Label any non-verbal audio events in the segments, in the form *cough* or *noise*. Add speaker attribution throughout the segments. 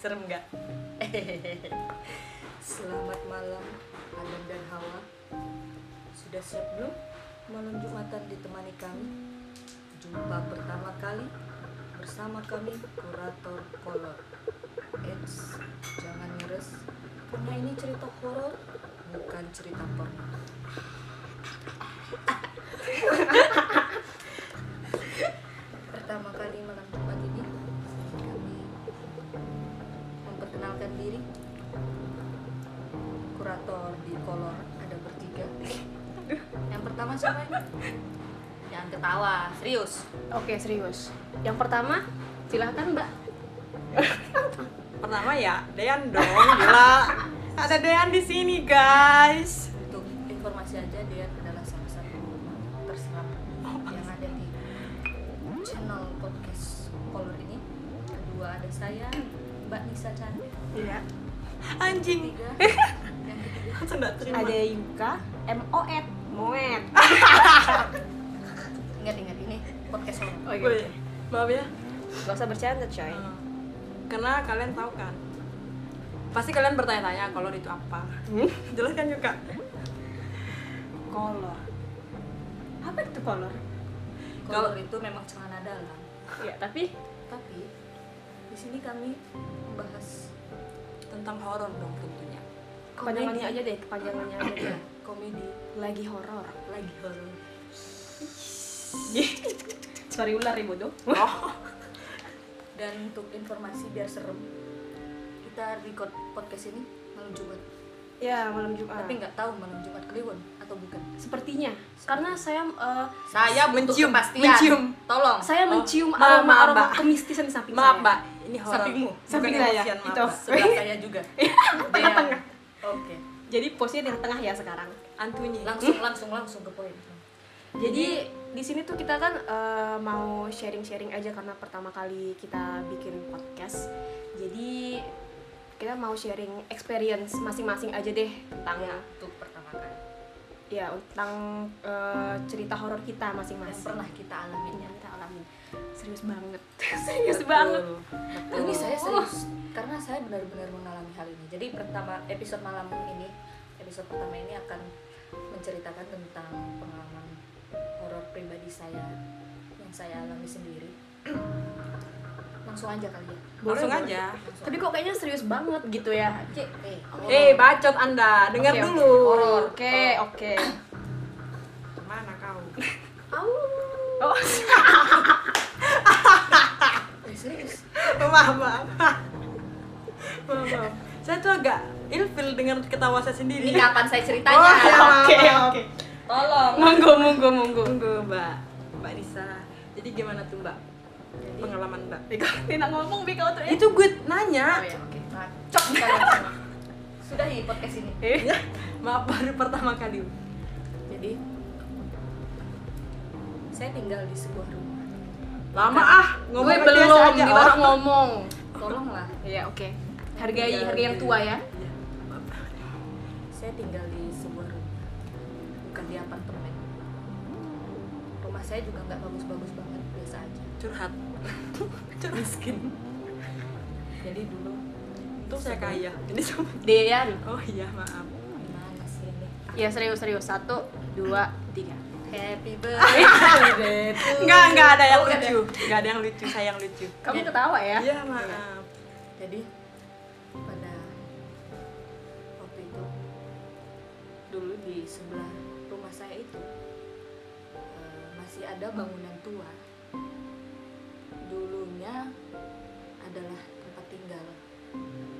Speaker 1: serem nggak?
Speaker 2: *laughs* Selamat malam, Adam dan Hawa. Sudah siap belum malam Jumatan ditemani kami? Jumpa pertama kali bersama kami kurator kolor. Eits, jangan ngeres, karena ini cerita horor, bukan cerita
Speaker 1: *laughs*
Speaker 2: porno. pertama kali malam Jumat ini kami memperkenalkan diri kurator di kolor ada bertiga yang pertama siapa ya? jangan ketawa serius
Speaker 3: Oke serius. Yang pertama silahkan Mbak.
Speaker 1: Pertama ya Dean dong, gila. Ada Dean di sini guys.
Speaker 2: untuk informasi aja dia adalah salah satu terserap yang ada di channel podcast kolor ini kedua ada saya mbak Nisa Chandra
Speaker 3: Iya.
Speaker 1: Anjing, *laughs*
Speaker 2: ketiga yang ketiga
Speaker 1: langsung nggak terima.
Speaker 3: Ada Yuka M O E Moet.
Speaker 2: *laughs* ingat ingat ini podcast kolor
Speaker 3: Oke.
Speaker 1: Woi, maaf ya. Eh,
Speaker 3: Gak usah bercanda coy.
Speaker 1: Karena kalian tahu kan, pasti kalian bertanya-tanya kalau itu apa.
Speaker 2: Hmm?
Speaker 1: *laughs* kan, Jelaskan juga.
Speaker 3: Kolor. Apa itu kolor?
Speaker 2: kolor itu memang celana dalam
Speaker 3: Iya tapi
Speaker 2: tapi di sini kami membahas
Speaker 1: Tentang horor dong tentunya.
Speaker 3: kepanjangannya
Speaker 2: komedi.
Speaker 3: aja deh, kepanjangannya aja
Speaker 1: *clears throat*
Speaker 3: deh.
Speaker 2: komedi
Speaker 3: Lagi horor.
Speaker 2: lagi horor
Speaker 3: Sorry ular ya bodoh.
Speaker 2: dan untuk informasi biar serem kita record podcast ini malam Jumat
Speaker 3: Ya malam Jumat.
Speaker 1: Ah.
Speaker 2: tapi nggak tahu malam Jumat Kliwon atau bukan
Speaker 3: Sepertinya karena saya eh,
Speaker 2: saya butuh
Speaker 1: Mencium,
Speaker 2: kepastian
Speaker 1: mencium.
Speaker 2: tolong
Speaker 3: saya mencium
Speaker 1: maaf, maaf,
Speaker 3: aroma aroma
Speaker 1: Mbak.
Speaker 3: kemistisan di samping
Speaker 1: Maaf
Speaker 3: saya.
Speaker 1: mbak, ini horor.
Speaker 2: Sampingmu.
Speaker 1: Bukan
Speaker 3: Samping saya,
Speaker 1: emosian, maaf,
Speaker 3: itu. Iya,
Speaker 1: Mbak.
Speaker 3: *laughs*
Speaker 2: sebelah saya juga Dea.
Speaker 3: Tengah-tengah.
Speaker 2: oke
Speaker 3: Jadi posnya di tengah ya sekarang.
Speaker 1: Antunya.
Speaker 2: langsung langsung langsung ke poin
Speaker 3: Jadi di sini tuh kita kan eh, mau sharing-sharing aja karena pertama kali kita bikin podcast. Jadi kita mau sharing experience masing-masing aja deh tentang
Speaker 2: untuk pertama kali
Speaker 3: ya tentang eh, cerita horor kita
Speaker 2: yang
Speaker 3: masing-masing.
Speaker 2: pernah kita alaminya
Speaker 3: Yang kita alami. Serius banget. *laughs* Serius banget.
Speaker 2: ini
Speaker 1: Oh.
Speaker 2: saya serius karena saya benar-benar mengalami hal ini jadi pertama episode malam ini episode pertama ini akan menceritakan tentang pengalaman horor pribadi saya yang saya alami sendiri *clears throat* langsung aja kali ya
Speaker 1: Langsung
Speaker 3: Boleh,
Speaker 1: aja.
Speaker 2: Langsung.
Speaker 3: Tapi kok kayaknya serius banget gitu ya.
Speaker 2: Cek, eh, horor.
Speaker 1: Eh, bacot Anda, dengar
Speaker 3: Oke, oke.
Speaker 1: dulu.
Speaker 3: Horor. Oke, oke.
Speaker 1: Mana kau?
Speaker 2: Au.
Speaker 3: Oh,
Speaker 2: Eh, serius
Speaker 1: *laughs* maaf, maaf. maaf, maaf. Saya tuh agak ilfil dengan ketawa saya sendiri.
Speaker 2: ini kapan saya ceritanya
Speaker 1: Oh, ya,
Speaker 3: oke,
Speaker 1: maaf.
Speaker 3: oke.
Speaker 2: tolong
Speaker 3: Monggo, monggo, monggo.
Speaker 1: Tunggu, Mbak. Mbak Nisa. Jadi gimana tuh, Mbak?
Speaker 2: Jadi-
Speaker 1: Pengalaman Mbak.
Speaker 3: Bika, tidak ngomong Bika untuk
Speaker 1: Itu gue
Speaker 2: oh,
Speaker 3: iya.
Speaker 1: nanya.
Speaker 2: ya, oke
Speaker 3: *laughs*
Speaker 2: Ngacok kalian semua. sudah di podcast ini
Speaker 1: maaf baru pertama kali.
Speaker 2: jadi saya tinggal di sebuah rumah
Speaker 1: Lama ah, ngomong
Speaker 3: gue
Speaker 1: kayak
Speaker 3: belum
Speaker 1: biasa aja.
Speaker 3: dia
Speaker 1: Oh.
Speaker 3: baru ngomong
Speaker 2: tolonglah
Speaker 3: iya oke hargai harga yang tua ya
Speaker 1: Iya, maaf.
Speaker 2: saya tinggal di sebuah rumah bukan di apartemen rumah saya juga nggak bagus-bagus banget biasa aja
Speaker 1: Curhat. *laughs* Curhat miskin.
Speaker 2: jadi dulu
Speaker 1: Untung saya kaya. Jadi sama.
Speaker 3: Dean
Speaker 1: *laughs* Oh iya, maaf.
Speaker 2: gimana sih ini
Speaker 3: ya serius serius satu dua tiga
Speaker 2: *laughs* happy birthday
Speaker 1: Enggak, enggak ada yang
Speaker 2: Oh, nggak ada.
Speaker 1: lucu. Enggak ada yang lucu, saya yang lucu.
Speaker 3: kamu ketawa ya
Speaker 1: Iya, maaf.
Speaker 2: jadi pada waktu itu dulu di sebelah rumah saya itu eh, masih ada bangunan tua dulunya adalah tempat tinggal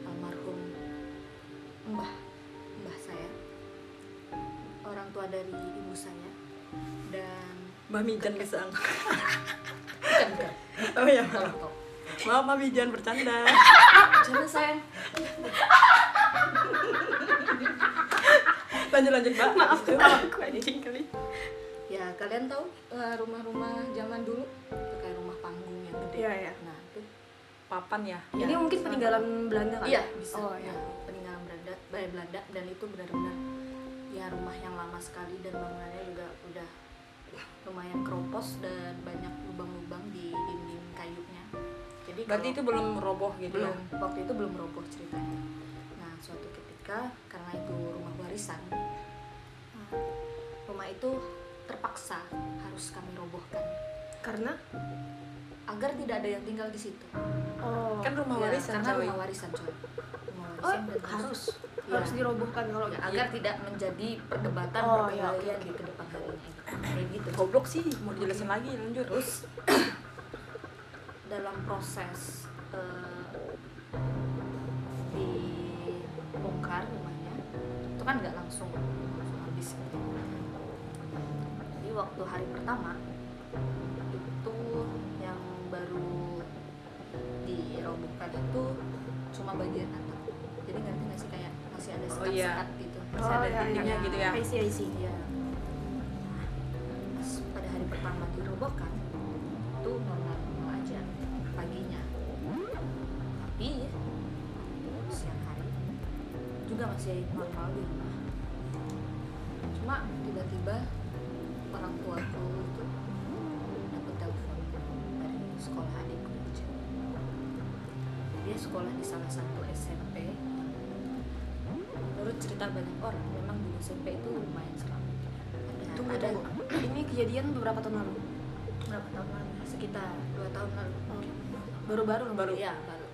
Speaker 2: almarhum mbah mbah saya orang tua dari ibu saya dan
Speaker 1: Mbak Mijan kesang.
Speaker 2: bukan bukan
Speaker 1: Oh iya, maaf.
Speaker 2: tolong, tolong.
Speaker 1: Maaf, Mbak Mijan *laughs* bercanda.
Speaker 2: jangan sayang
Speaker 1: Lanjut, lanjut, Mbak. Maaf,
Speaker 3: ketawa *laughs* aku anjing kali
Speaker 2: ya kalian tahu eh, rumah-rumah zaman dulu itu kayak rumah panggung yang gede
Speaker 3: Iya, iya.
Speaker 2: nah itu
Speaker 1: Papan ya.
Speaker 2: Ya,
Speaker 3: ini mungkin
Speaker 2: sama.
Speaker 3: peninggalan Belanda kan
Speaker 2: iya bisa
Speaker 3: oh iya
Speaker 2: Nah, peninggalan Belanda eh, Belanda dan itu benar-benar ya rumah yang lama sekali dan bangunannya juga udah lumayan keropos dan banyak lubang-lubang di dinding kayunya Jadi
Speaker 1: Berarti
Speaker 2: kalau-
Speaker 1: itu belum roboh gitu
Speaker 2: belum
Speaker 1: ya?
Speaker 2: waktu itu belum roboh ceritanya nah suatu ketika karena itu rumah warisan nah, rumah itu terpaksa harus kami robohkan
Speaker 3: Karena
Speaker 2: agar tidak ada yang tinggal di situ
Speaker 3: oh
Speaker 1: Kan rumah
Speaker 2: Ya,
Speaker 1: warisan
Speaker 2: karena
Speaker 1: coy.
Speaker 2: rumah warisan coy rumah
Speaker 3: oh
Speaker 2: warisan dan
Speaker 3: harus Iya.
Speaker 2: Ya.
Speaker 3: harus dirobohkan kalau
Speaker 2: Ya, agar tidak menjadi perdebatan
Speaker 3: Oh,
Speaker 2: perkelahian
Speaker 3: ya, oke, oke.
Speaker 2: di kedepan harinya kayak gitu
Speaker 1: Goblok sih, mau dijelasin lagi lanjut.
Speaker 2: terus *coughs* dalam proses eh, dibongkar rumahnya itu kan nggak langsung langsung habis gitu. jadi waktu hari pertama itu yang baru dirobohkan itu cuma bagian atap jadi ngerti nggak sih kayak masih ada
Speaker 1: Oh, iya.
Speaker 2: sekat-sekat gitu
Speaker 1: Masih ada dindingnya gitu ya.
Speaker 3: Oh, iya, I see, I see.
Speaker 2: Iya. Pas pada hari pertama dirobohkan itu normal-normal aja paginya. Tapi siang hari juga masih normal di rumah. Cuma tiba-tiba orang tuaku itu dapat telepon dari sekolah adikku yang cewek. Dia sekolah di salah satu SMP menurut cerita banyak orang memang di SMP itu lumayan seram ada,
Speaker 3: Tunggu,
Speaker 2: ada
Speaker 3: tunggu. Ini kejadian beberapa tahun lalu.
Speaker 2: berapa tahun lalu sekitar dua tahun lalu
Speaker 3: Baru-baru loh.
Speaker 2: ya baru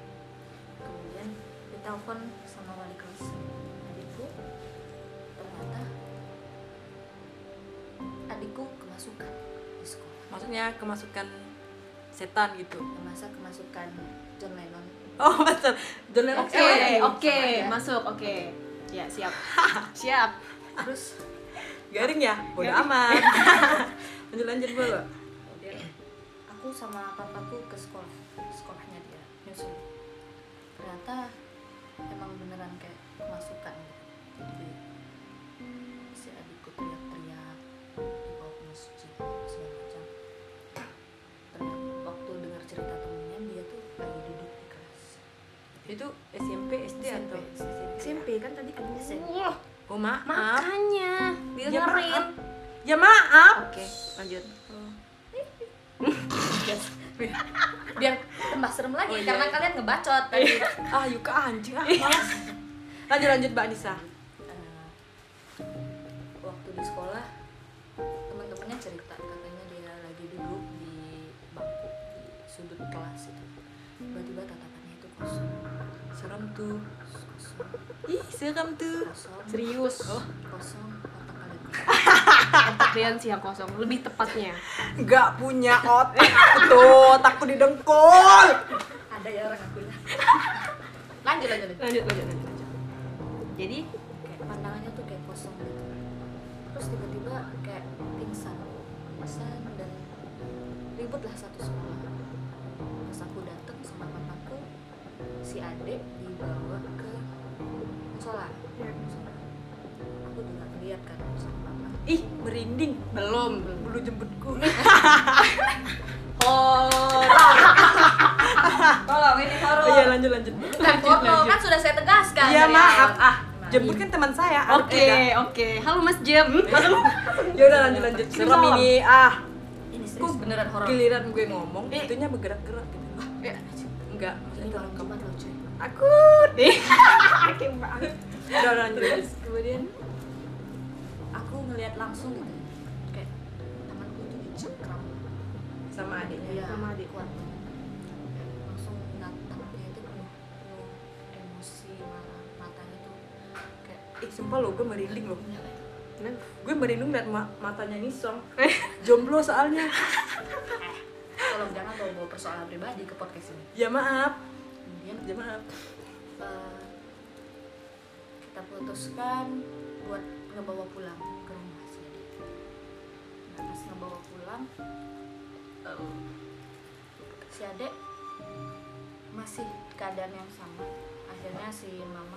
Speaker 2: kemudian ditelepon sama wali kelas adikku ternyata adikku kemasukan di sekolah
Speaker 1: Maksudnya kemasukan setan gitu.
Speaker 2: masa kemasukan John Lennon
Speaker 1: *laughs* Oh, betul. John Lennon
Speaker 3: Oke,
Speaker 1: cewek.
Speaker 3: oke,
Speaker 2: Sama aja.
Speaker 3: masuk, oke. Ya, siap. *laughs* siap.
Speaker 2: terus
Speaker 1: Garing ya? Bodoh
Speaker 2: Garing.
Speaker 1: amat. *laughs* lanjut lanjut dulu.
Speaker 2: Kemudian aku sama papaku ke sekolah, sekolahnya dia nyusul. Ternyata emang beneran kayak kemasukan gitu. Jadi si adikku teriak-teriak dibawa ke masjid segala macam. Ternyata waktu dengar cerita temennya dia tuh lagi duduk di kelas. *laughs*
Speaker 1: Itu SMP, SD
Speaker 2: SMP.
Speaker 1: atau
Speaker 3: SMP kan tadi kamu
Speaker 2: SMP.
Speaker 3: Wah,
Speaker 1: Oh, maaf.
Speaker 3: makanya dia
Speaker 1: Ya,
Speaker 3: ngerin.
Speaker 1: maaf. Ya maaf.
Speaker 2: Oke.
Speaker 1: Lanjut.
Speaker 2: Biar- biar tambah serem lagi
Speaker 1: Oh, iya,
Speaker 2: karena
Speaker 1: iya.
Speaker 2: kalian ngebacot tadi.
Speaker 1: Ah, Yuka anjing ah. malas. Lanjut lanjut Mbak Nisa.
Speaker 2: Eh, waktu di sekolah teman-temannya cerita katanya dia lagi duduk di bangku di sudut kelas itu tiba-tiba tatapannya itu kosong
Speaker 1: Serem tuh.
Speaker 2: kosong
Speaker 1: Ih, serem tuh.
Speaker 2: kosong
Speaker 3: Serius.
Speaker 2: oh, kosong otak *laughs* kalian
Speaker 3: Otak kalian sih yang kosong, lebih tepatnya.
Speaker 1: Gak punya otak aku tuh, otakku didengkul.
Speaker 2: kosong. ada ya orang akunya lanjut lanjut lanjut
Speaker 3: Lanjut, lanjut, lanjut. lanjut. Jadi,
Speaker 2: kayak pandangannya tuh kayak kosong gitu terus tiba-tiba kayak pingsan pingsan dan ribut lah satu sekolah pas aku dateng sama papaku si adek dibawa ke musola
Speaker 1: Iya.
Speaker 2: musola aku juga ngeliat kan sama papa
Speaker 1: Ih, merinding.
Speaker 3: belum.
Speaker 1: Bulu *laughs* jembutku.
Speaker 2: horor tolong ini horor
Speaker 1: Oh. Iya, lanjut lanjut.
Speaker 2: bukan foto kan sudah saya tegaskan ya.
Speaker 1: Iya,
Speaker 2: dari
Speaker 1: maaf
Speaker 2: awal.
Speaker 1: ah. Jembut kan teman saya.
Speaker 3: Oke,
Speaker 1: Arke, kan?
Speaker 3: oke. Halo Mas Jem.
Speaker 1: Ya udah lanjut lanjut.
Speaker 3: Kirim
Speaker 1: Serem
Speaker 3: salam.
Speaker 1: ini ah.
Speaker 2: ini serius
Speaker 1: Kok
Speaker 2: beneran horor Iya,
Speaker 1: Giliran gue ngomong,
Speaker 3: Eh.
Speaker 1: itunya bergerak-gerak gitu. Ah,
Speaker 3: Eh,
Speaker 1: Enggak,
Speaker 2: ini
Speaker 1: maksudnya
Speaker 2: malam jumat loh cuy
Speaker 1: Aku. Eh. *laughs* Udah udah, lanjut.
Speaker 2: terus kemudian aku ngelihat langsung gitu kayak tanganku tuh dicengkram
Speaker 1: Sama adiknya.
Speaker 2: Iya,
Speaker 3: Sama adik.
Speaker 2: kuat banget. Kayak langsung natapnya itu penuh, penuh emosi marah matanya tuh kayak
Speaker 1: Ih, sumpah lo, gue merinding lo.
Speaker 2: punya
Speaker 1: Gue merinding liat ma- matanya Nisong. Jomblo soalnya.
Speaker 2: tolong jangan bawa bawa persoalan pribadi ke podcast ini
Speaker 1: Ya maaf.
Speaker 2: kemudian
Speaker 1: Ya maaf.
Speaker 2: eh, kita putuskan buat ngebawa pulang ke rumah si adik. Nah, pas ngebawa pulang, em, si adek masih keadaan yang sama. Akhirnya si mama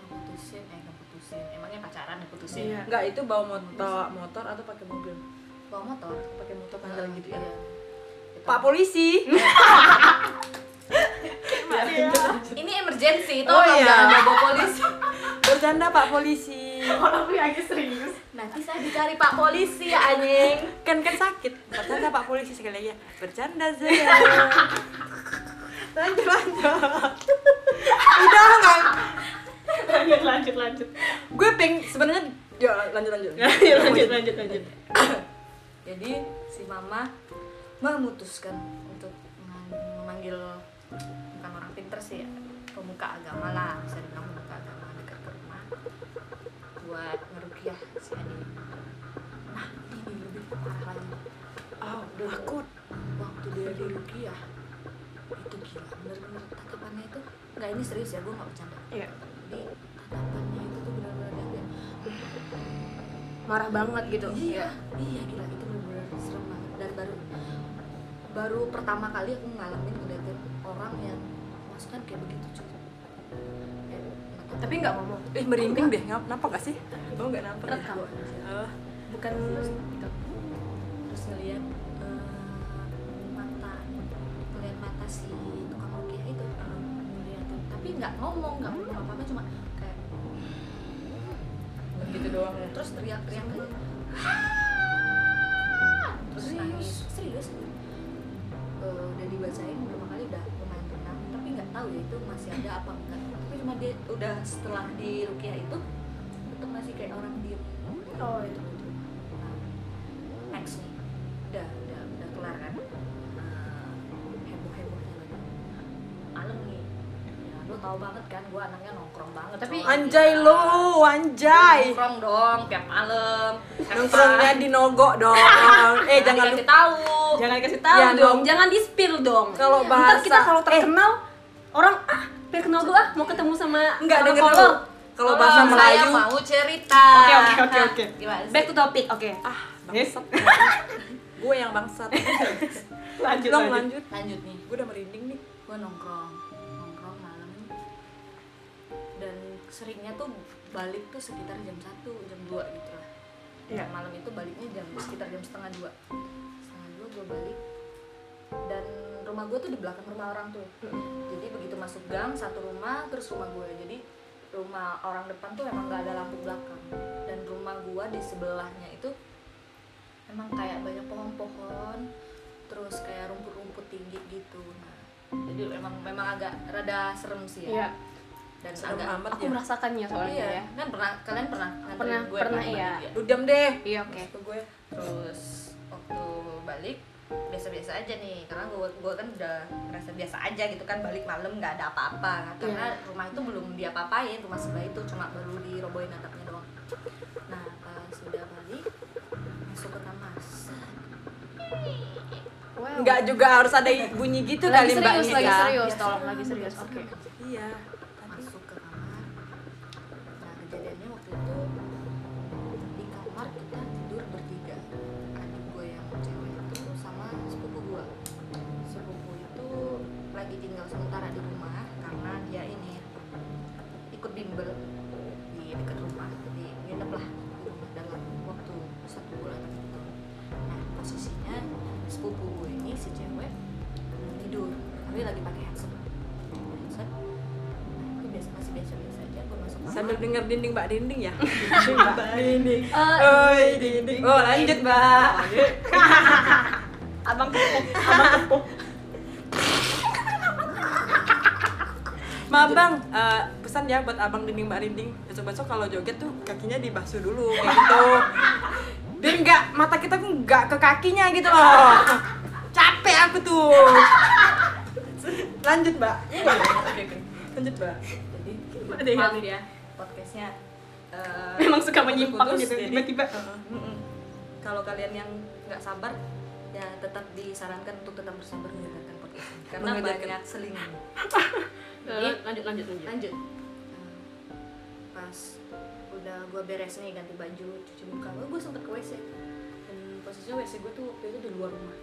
Speaker 2: ngeputusin, eh ngeputusin, emangnya pacaran ngeputusin.
Speaker 3: Iya.
Speaker 1: Enggak itu bawa motor, motor atau pakai mobil?
Speaker 2: Bawa motor,
Speaker 1: Pakai motor panjang
Speaker 3: Nah,
Speaker 2: Eh,
Speaker 1: gitu ya.
Speaker 2: iya. Kita-
Speaker 1: Pak polisi.
Speaker 3: Iya.
Speaker 2: ini emergency,
Speaker 1: Oh,
Speaker 2: tolong
Speaker 1: iya.
Speaker 2: jangan bawa polisi.
Speaker 1: Bercanda Pak polisi.
Speaker 3: Kalau aku agak *laughs* serius.
Speaker 2: Nanti saya dicari Pak polisi, anjing.
Speaker 1: Kan kan sakit. Bercanda Pak polisi sekali lagi ya. Bercanda saya. lanjut lanjut udah kan
Speaker 3: lanjut lanjut lanjut
Speaker 1: gue peng sebenarnya ya lanjut lanjut
Speaker 3: lanjut Iya, lanjut lanjut lanjut
Speaker 2: Jadi si mama memutuskan untuk mengan- memanggil bukan orang pinter sih, ya, pemuka agama lah, bisa dibilang pemuka agama dekat ke rumah buat ngerukiah si Ade. Nah, ini lebih parah lagi.
Speaker 1: oh takut
Speaker 2: Waktu dia dirukiah itu gila, bener-bener tatapannya itu nggak ini serius ya, gue nggak bercanda.
Speaker 3: Iya.
Speaker 2: Jadi tatapannya itu tuh bener-bener dia kayak,
Speaker 3: marah banget gitu
Speaker 2: Iya, iya gila itu benar-benar serem banget dan baru baru pertama kali aku ngalamin ngeliatin orang yang masukan kayak begitu cuy. Kayak mata-
Speaker 3: tapi nggak ngomong
Speaker 1: eh merinding deh ngap napa gak sih oh nggak napa ya?
Speaker 2: Rekam.
Speaker 1: Oh,
Speaker 3: bukan
Speaker 2: Terus ngeliat eh, mata ngeliat mata si tukang rukiah itu ngeliatin tapi nggak ngomong nggak ngomong apa-apa cuma kayak
Speaker 1: gitu doang
Speaker 2: terus teriak-teriak kayak "Ah!" terus nangis serius Eh, udah dibacain berapa kali udah lumayan tenang tapi nggak tahu ya itu masih ada apa enggak tapi cuma dia udah setelah di rukiah itu tetap masih kayak orang diem
Speaker 3: Oh, iya.
Speaker 2: Nah, next nih udah udah udah kelar kan heboh hebohnya lagi malam nih ya lo tau banget kan gue anaknya nongkrong banget
Speaker 3: Tapi
Speaker 2: coy.
Speaker 1: anjay lu anjay
Speaker 2: Nongkrong dong tiap malam.
Speaker 1: nongkrongnya di nogo
Speaker 3: *laughs*
Speaker 1: dong eh jangan lupa
Speaker 2: dikasih tahu.
Speaker 3: jangan kasih tahu
Speaker 1: Ya,
Speaker 3: Iya dong
Speaker 1: dong.
Speaker 3: jangan di spill dong
Speaker 1: kalau bahasa
Speaker 3: Ntar kita kalau
Speaker 1: eh,
Speaker 3: terkenal orang ah pengen kenal gua ah mau ketemu sama
Speaker 1: enggak
Speaker 3: sama
Speaker 1: denger
Speaker 3: Kolo."
Speaker 1: dulu kalau bahasa
Speaker 2: saya
Speaker 1: Melayu
Speaker 2: mau cerita. Nah,
Speaker 3: Oke, oke, oke, oke.
Speaker 2: Gimana sih?
Speaker 3: back to topic oke
Speaker 1: ah
Speaker 3: Yes.
Speaker 1: bangsat gue yang bangsat
Speaker 3: *laughs* lanjut
Speaker 1: Long lanjut
Speaker 2: Lanjut nih,
Speaker 1: gue udah merinding nih
Speaker 2: gue nongkrong, nongkrong malam. Dan seringnya tuh balik tuh sekitar jam 1, jam 2 gitu lah.
Speaker 3: Iya.
Speaker 2: Jam malam itu baliknya jam sekitar jam setengah dua. Setengah dua gue balik. Dan rumah gue tuh di belakang rumah orang tuh.
Speaker 3: Hmm.
Speaker 2: jadi begitu masuk gang satu rumah terus rumah gue jadi rumah orang depan tuh emang gak ada lampu belakang dan rumah gue di sebelahnya itu emang kayak banyak pohon-pohon terus kayak rumput-rumput tinggi gitu nah jadi emang memang agak rada serem sih ya
Speaker 3: Iya,
Speaker 2: dan
Speaker 1: Serem
Speaker 2: agak
Speaker 1: amat
Speaker 3: aku
Speaker 1: ya
Speaker 3: merasakannya soalnya
Speaker 2: iya
Speaker 3: ya.
Speaker 2: kan pernah kalian pernah nganterin
Speaker 3: Pernah,
Speaker 2: gue
Speaker 3: pernah,
Speaker 2: kan?
Speaker 3: iya.
Speaker 1: lu diam deh
Speaker 3: Iya, oke.
Speaker 2: Terus ke gue terus waktu balik biasa-biasa aja nih karena gue gue kan udah ngerasa biasa aja gitu kan balik malam nggak ada
Speaker 3: Iya.
Speaker 2: apa-apa karena rumah itu belum diapa-apain rumah sebelah itu cuma baru dirobohin atapnya doang nah pas sudah balik masuk ke kamar set.
Speaker 3: Wow. Eh,
Speaker 1: Enggak juga harus ada bunyi gitu
Speaker 3: lagi
Speaker 1: kali Mbak
Speaker 3: serius,
Speaker 1: Nika.
Speaker 3: lagi serius,
Speaker 2: Biasa.
Speaker 3: tolong lagi serius. Oke.
Speaker 1: Iya.
Speaker 2: masuk ke kamar nah kejadiannya waktu itu di kamar kita tidur bertiga adik gue yang cewek itu sama sepupu gue sepupu itu lagi tinggal sementara di rumah karena dia ini ikut bimbel di dekat rumah jadi nginep lah di rumah dalam waktu satu bulan gitu nah posisinya sepupu gue ini si cewek tidur tapi lagi pakai headset headset nah, itu biasa masih biasa biasa aja gue masuk kamar
Speaker 1: Sambil denger dinding Mbak Dinding ya. Dinding
Speaker 2: *laughs*
Speaker 1: Mbak Dinding.
Speaker 3: Eh,
Speaker 1: Oi, dinding. Oh, lanjut, Mbak. *laughs*
Speaker 3: abang
Speaker 1: Maaf, Bang. Eh, pesan ya buat Abang Dinding Mbak Dinding. Besok-besok kalau joget tuh kakinya dibasuh dulu kayak gitu. Biar enggak mata kita tuh enggak ke kakinya gitu loh. Capek aku tuh. Lanjut, Mbak. Lanjut, Mbak.
Speaker 2: jadi
Speaker 3: deh,
Speaker 2: maaf
Speaker 3: Mbak.
Speaker 2: ya podcastnya eh,
Speaker 3: *laughs* memang suka menyimpang
Speaker 2: putus,
Speaker 3: gitu
Speaker 2: jadi-
Speaker 3: tiba-tiba.
Speaker 2: Mm-mm. kalau kalian yang nggak sabar ya tetap disarankan untuk tetap bersabar mendengarkan podcast ini. karena
Speaker 1: Mengejarkan.
Speaker 2: banyak selingan
Speaker 3: *laughs* Eh, Lanjut lanjut lanjut.
Speaker 2: lanjut Nah, pas udah gue beres nih ganti baju cuci muka gue sempet ke wc dan posisinya wc gue tuh waktu itu di luar rumah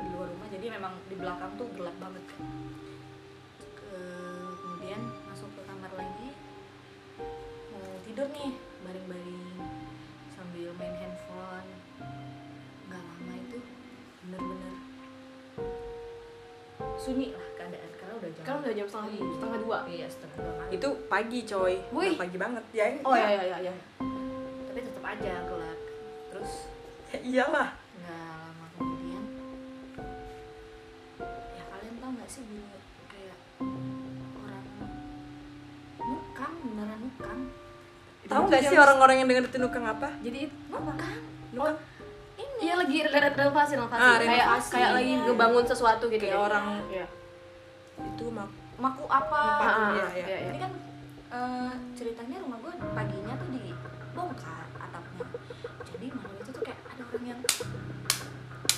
Speaker 2: di luar rumah jadi memang di belakang tuh gelap banget kan Ke- kemudian masuk ke kamar lagi mau tidur nih baring-baring sambil main handphone nggak lama itu bener-bener sunyi lah keadaan karena udah jam
Speaker 3: Kan udah jam setengah setengah dua.
Speaker 2: Iya setengah dua malam.
Speaker 1: Itu pagi, coy.
Speaker 3: Wih.
Speaker 1: Udah Pagi banget, ya.
Speaker 3: Oh ya ya ya ya.
Speaker 2: Tapi tetap aja gelap. Terus
Speaker 1: Ya Iyalah.
Speaker 2: nggak lama kemudian ya kalian tau nggak sih bunyi
Speaker 1: Tahu nggak sih orang-orang yang dengar itu nukang apa?
Speaker 3: jadi
Speaker 2: Bukan.
Speaker 1: Nukang
Speaker 2: ya,
Speaker 3: Iya lagi re- re- renovasi, renovasi.
Speaker 1: Ah,
Speaker 3: kayak
Speaker 2: renovasi.
Speaker 3: kayak lagi ngebangun sesuatu gitu
Speaker 1: Kayak
Speaker 3: ya.
Speaker 1: orang
Speaker 3: Iya.
Speaker 1: itu mak
Speaker 2: Maku apa?
Speaker 1: Maku.
Speaker 3: Ah,
Speaker 1: Iya,
Speaker 3: iya,
Speaker 1: iya.
Speaker 3: iya.
Speaker 2: Ini kan eh, ceritanya rumah gue paginya tuh dibongkar atapnya. Jadi malam itu tuh kayak ada orang yang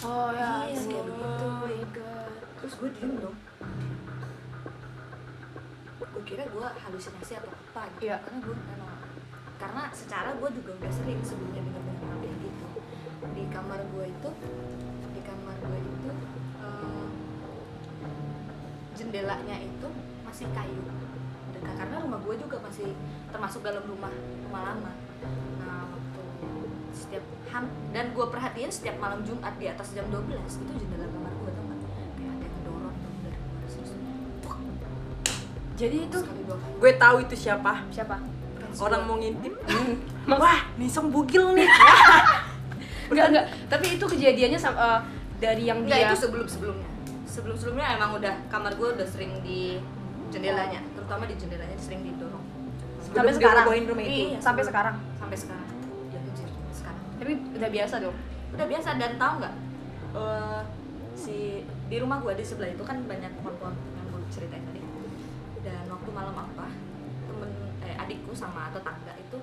Speaker 3: Oh ya.
Speaker 2: Iya,
Speaker 3: ampun.
Speaker 2: kayak begitu.
Speaker 3: Oh my god.
Speaker 2: terus gue diem dong. Gue kira gue halusinasi atau apa gitu.
Speaker 3: Iya.
Speaker 2: Karena gue memang karena secara gue juga udah sering sebelumnya dengar dengar hal kayak gitu. Di kamar gue itu di kamar gue itu eh, jendelanya itu masih kayu dan karena rumah gue juga masih termasuk dalam rumah rumah lama nah waktu setiap ham dan gue perhatiin setiap malam Jumat di atas jam 12 itu jendela kamar gue tuh kayak ada yang ngedorong tuh dari luar terus tuk,
Speaker 3: Jadi itu
Speaker 2: sekali dua kali
Speaker 1: gue tahu itu siapa.
Speaker 3: siapa?
Speaker 1: Orang mau ngintip.
Speaker 3: Mas-
Speaker 1: Wah, Nisong bugil nih.
Speaker 3: Enggak enggak. Tapi itu kejadiannya sam- eh, dari yang
Speaker 2: enggak
Speaker 3: dia.
Speaker 2: itu sebelum sebelumnya sebelum sebelumnya Iya. emang udah kamar gue udah sering di jendelanya terutama di jendelanya sering didorong
Speaker 1: Sebelum
Speaker 3: sampai sekarang.
Speaker 1: dihebohin rumah itu.
Speaker 3: Iya, sampai sekarang.
Speaker 2: sampai sekarang ya anjir, sekarang
Speaker 3: Tapi udah biasa dong.
Speaker 2: udah biasa dan tahu nggak eh, si di rumah gue di sebelah itu kan banyak pohon-pohon yang gue ceritain tadi dan waktu malam apa temen eh, adikku sama tetangga itu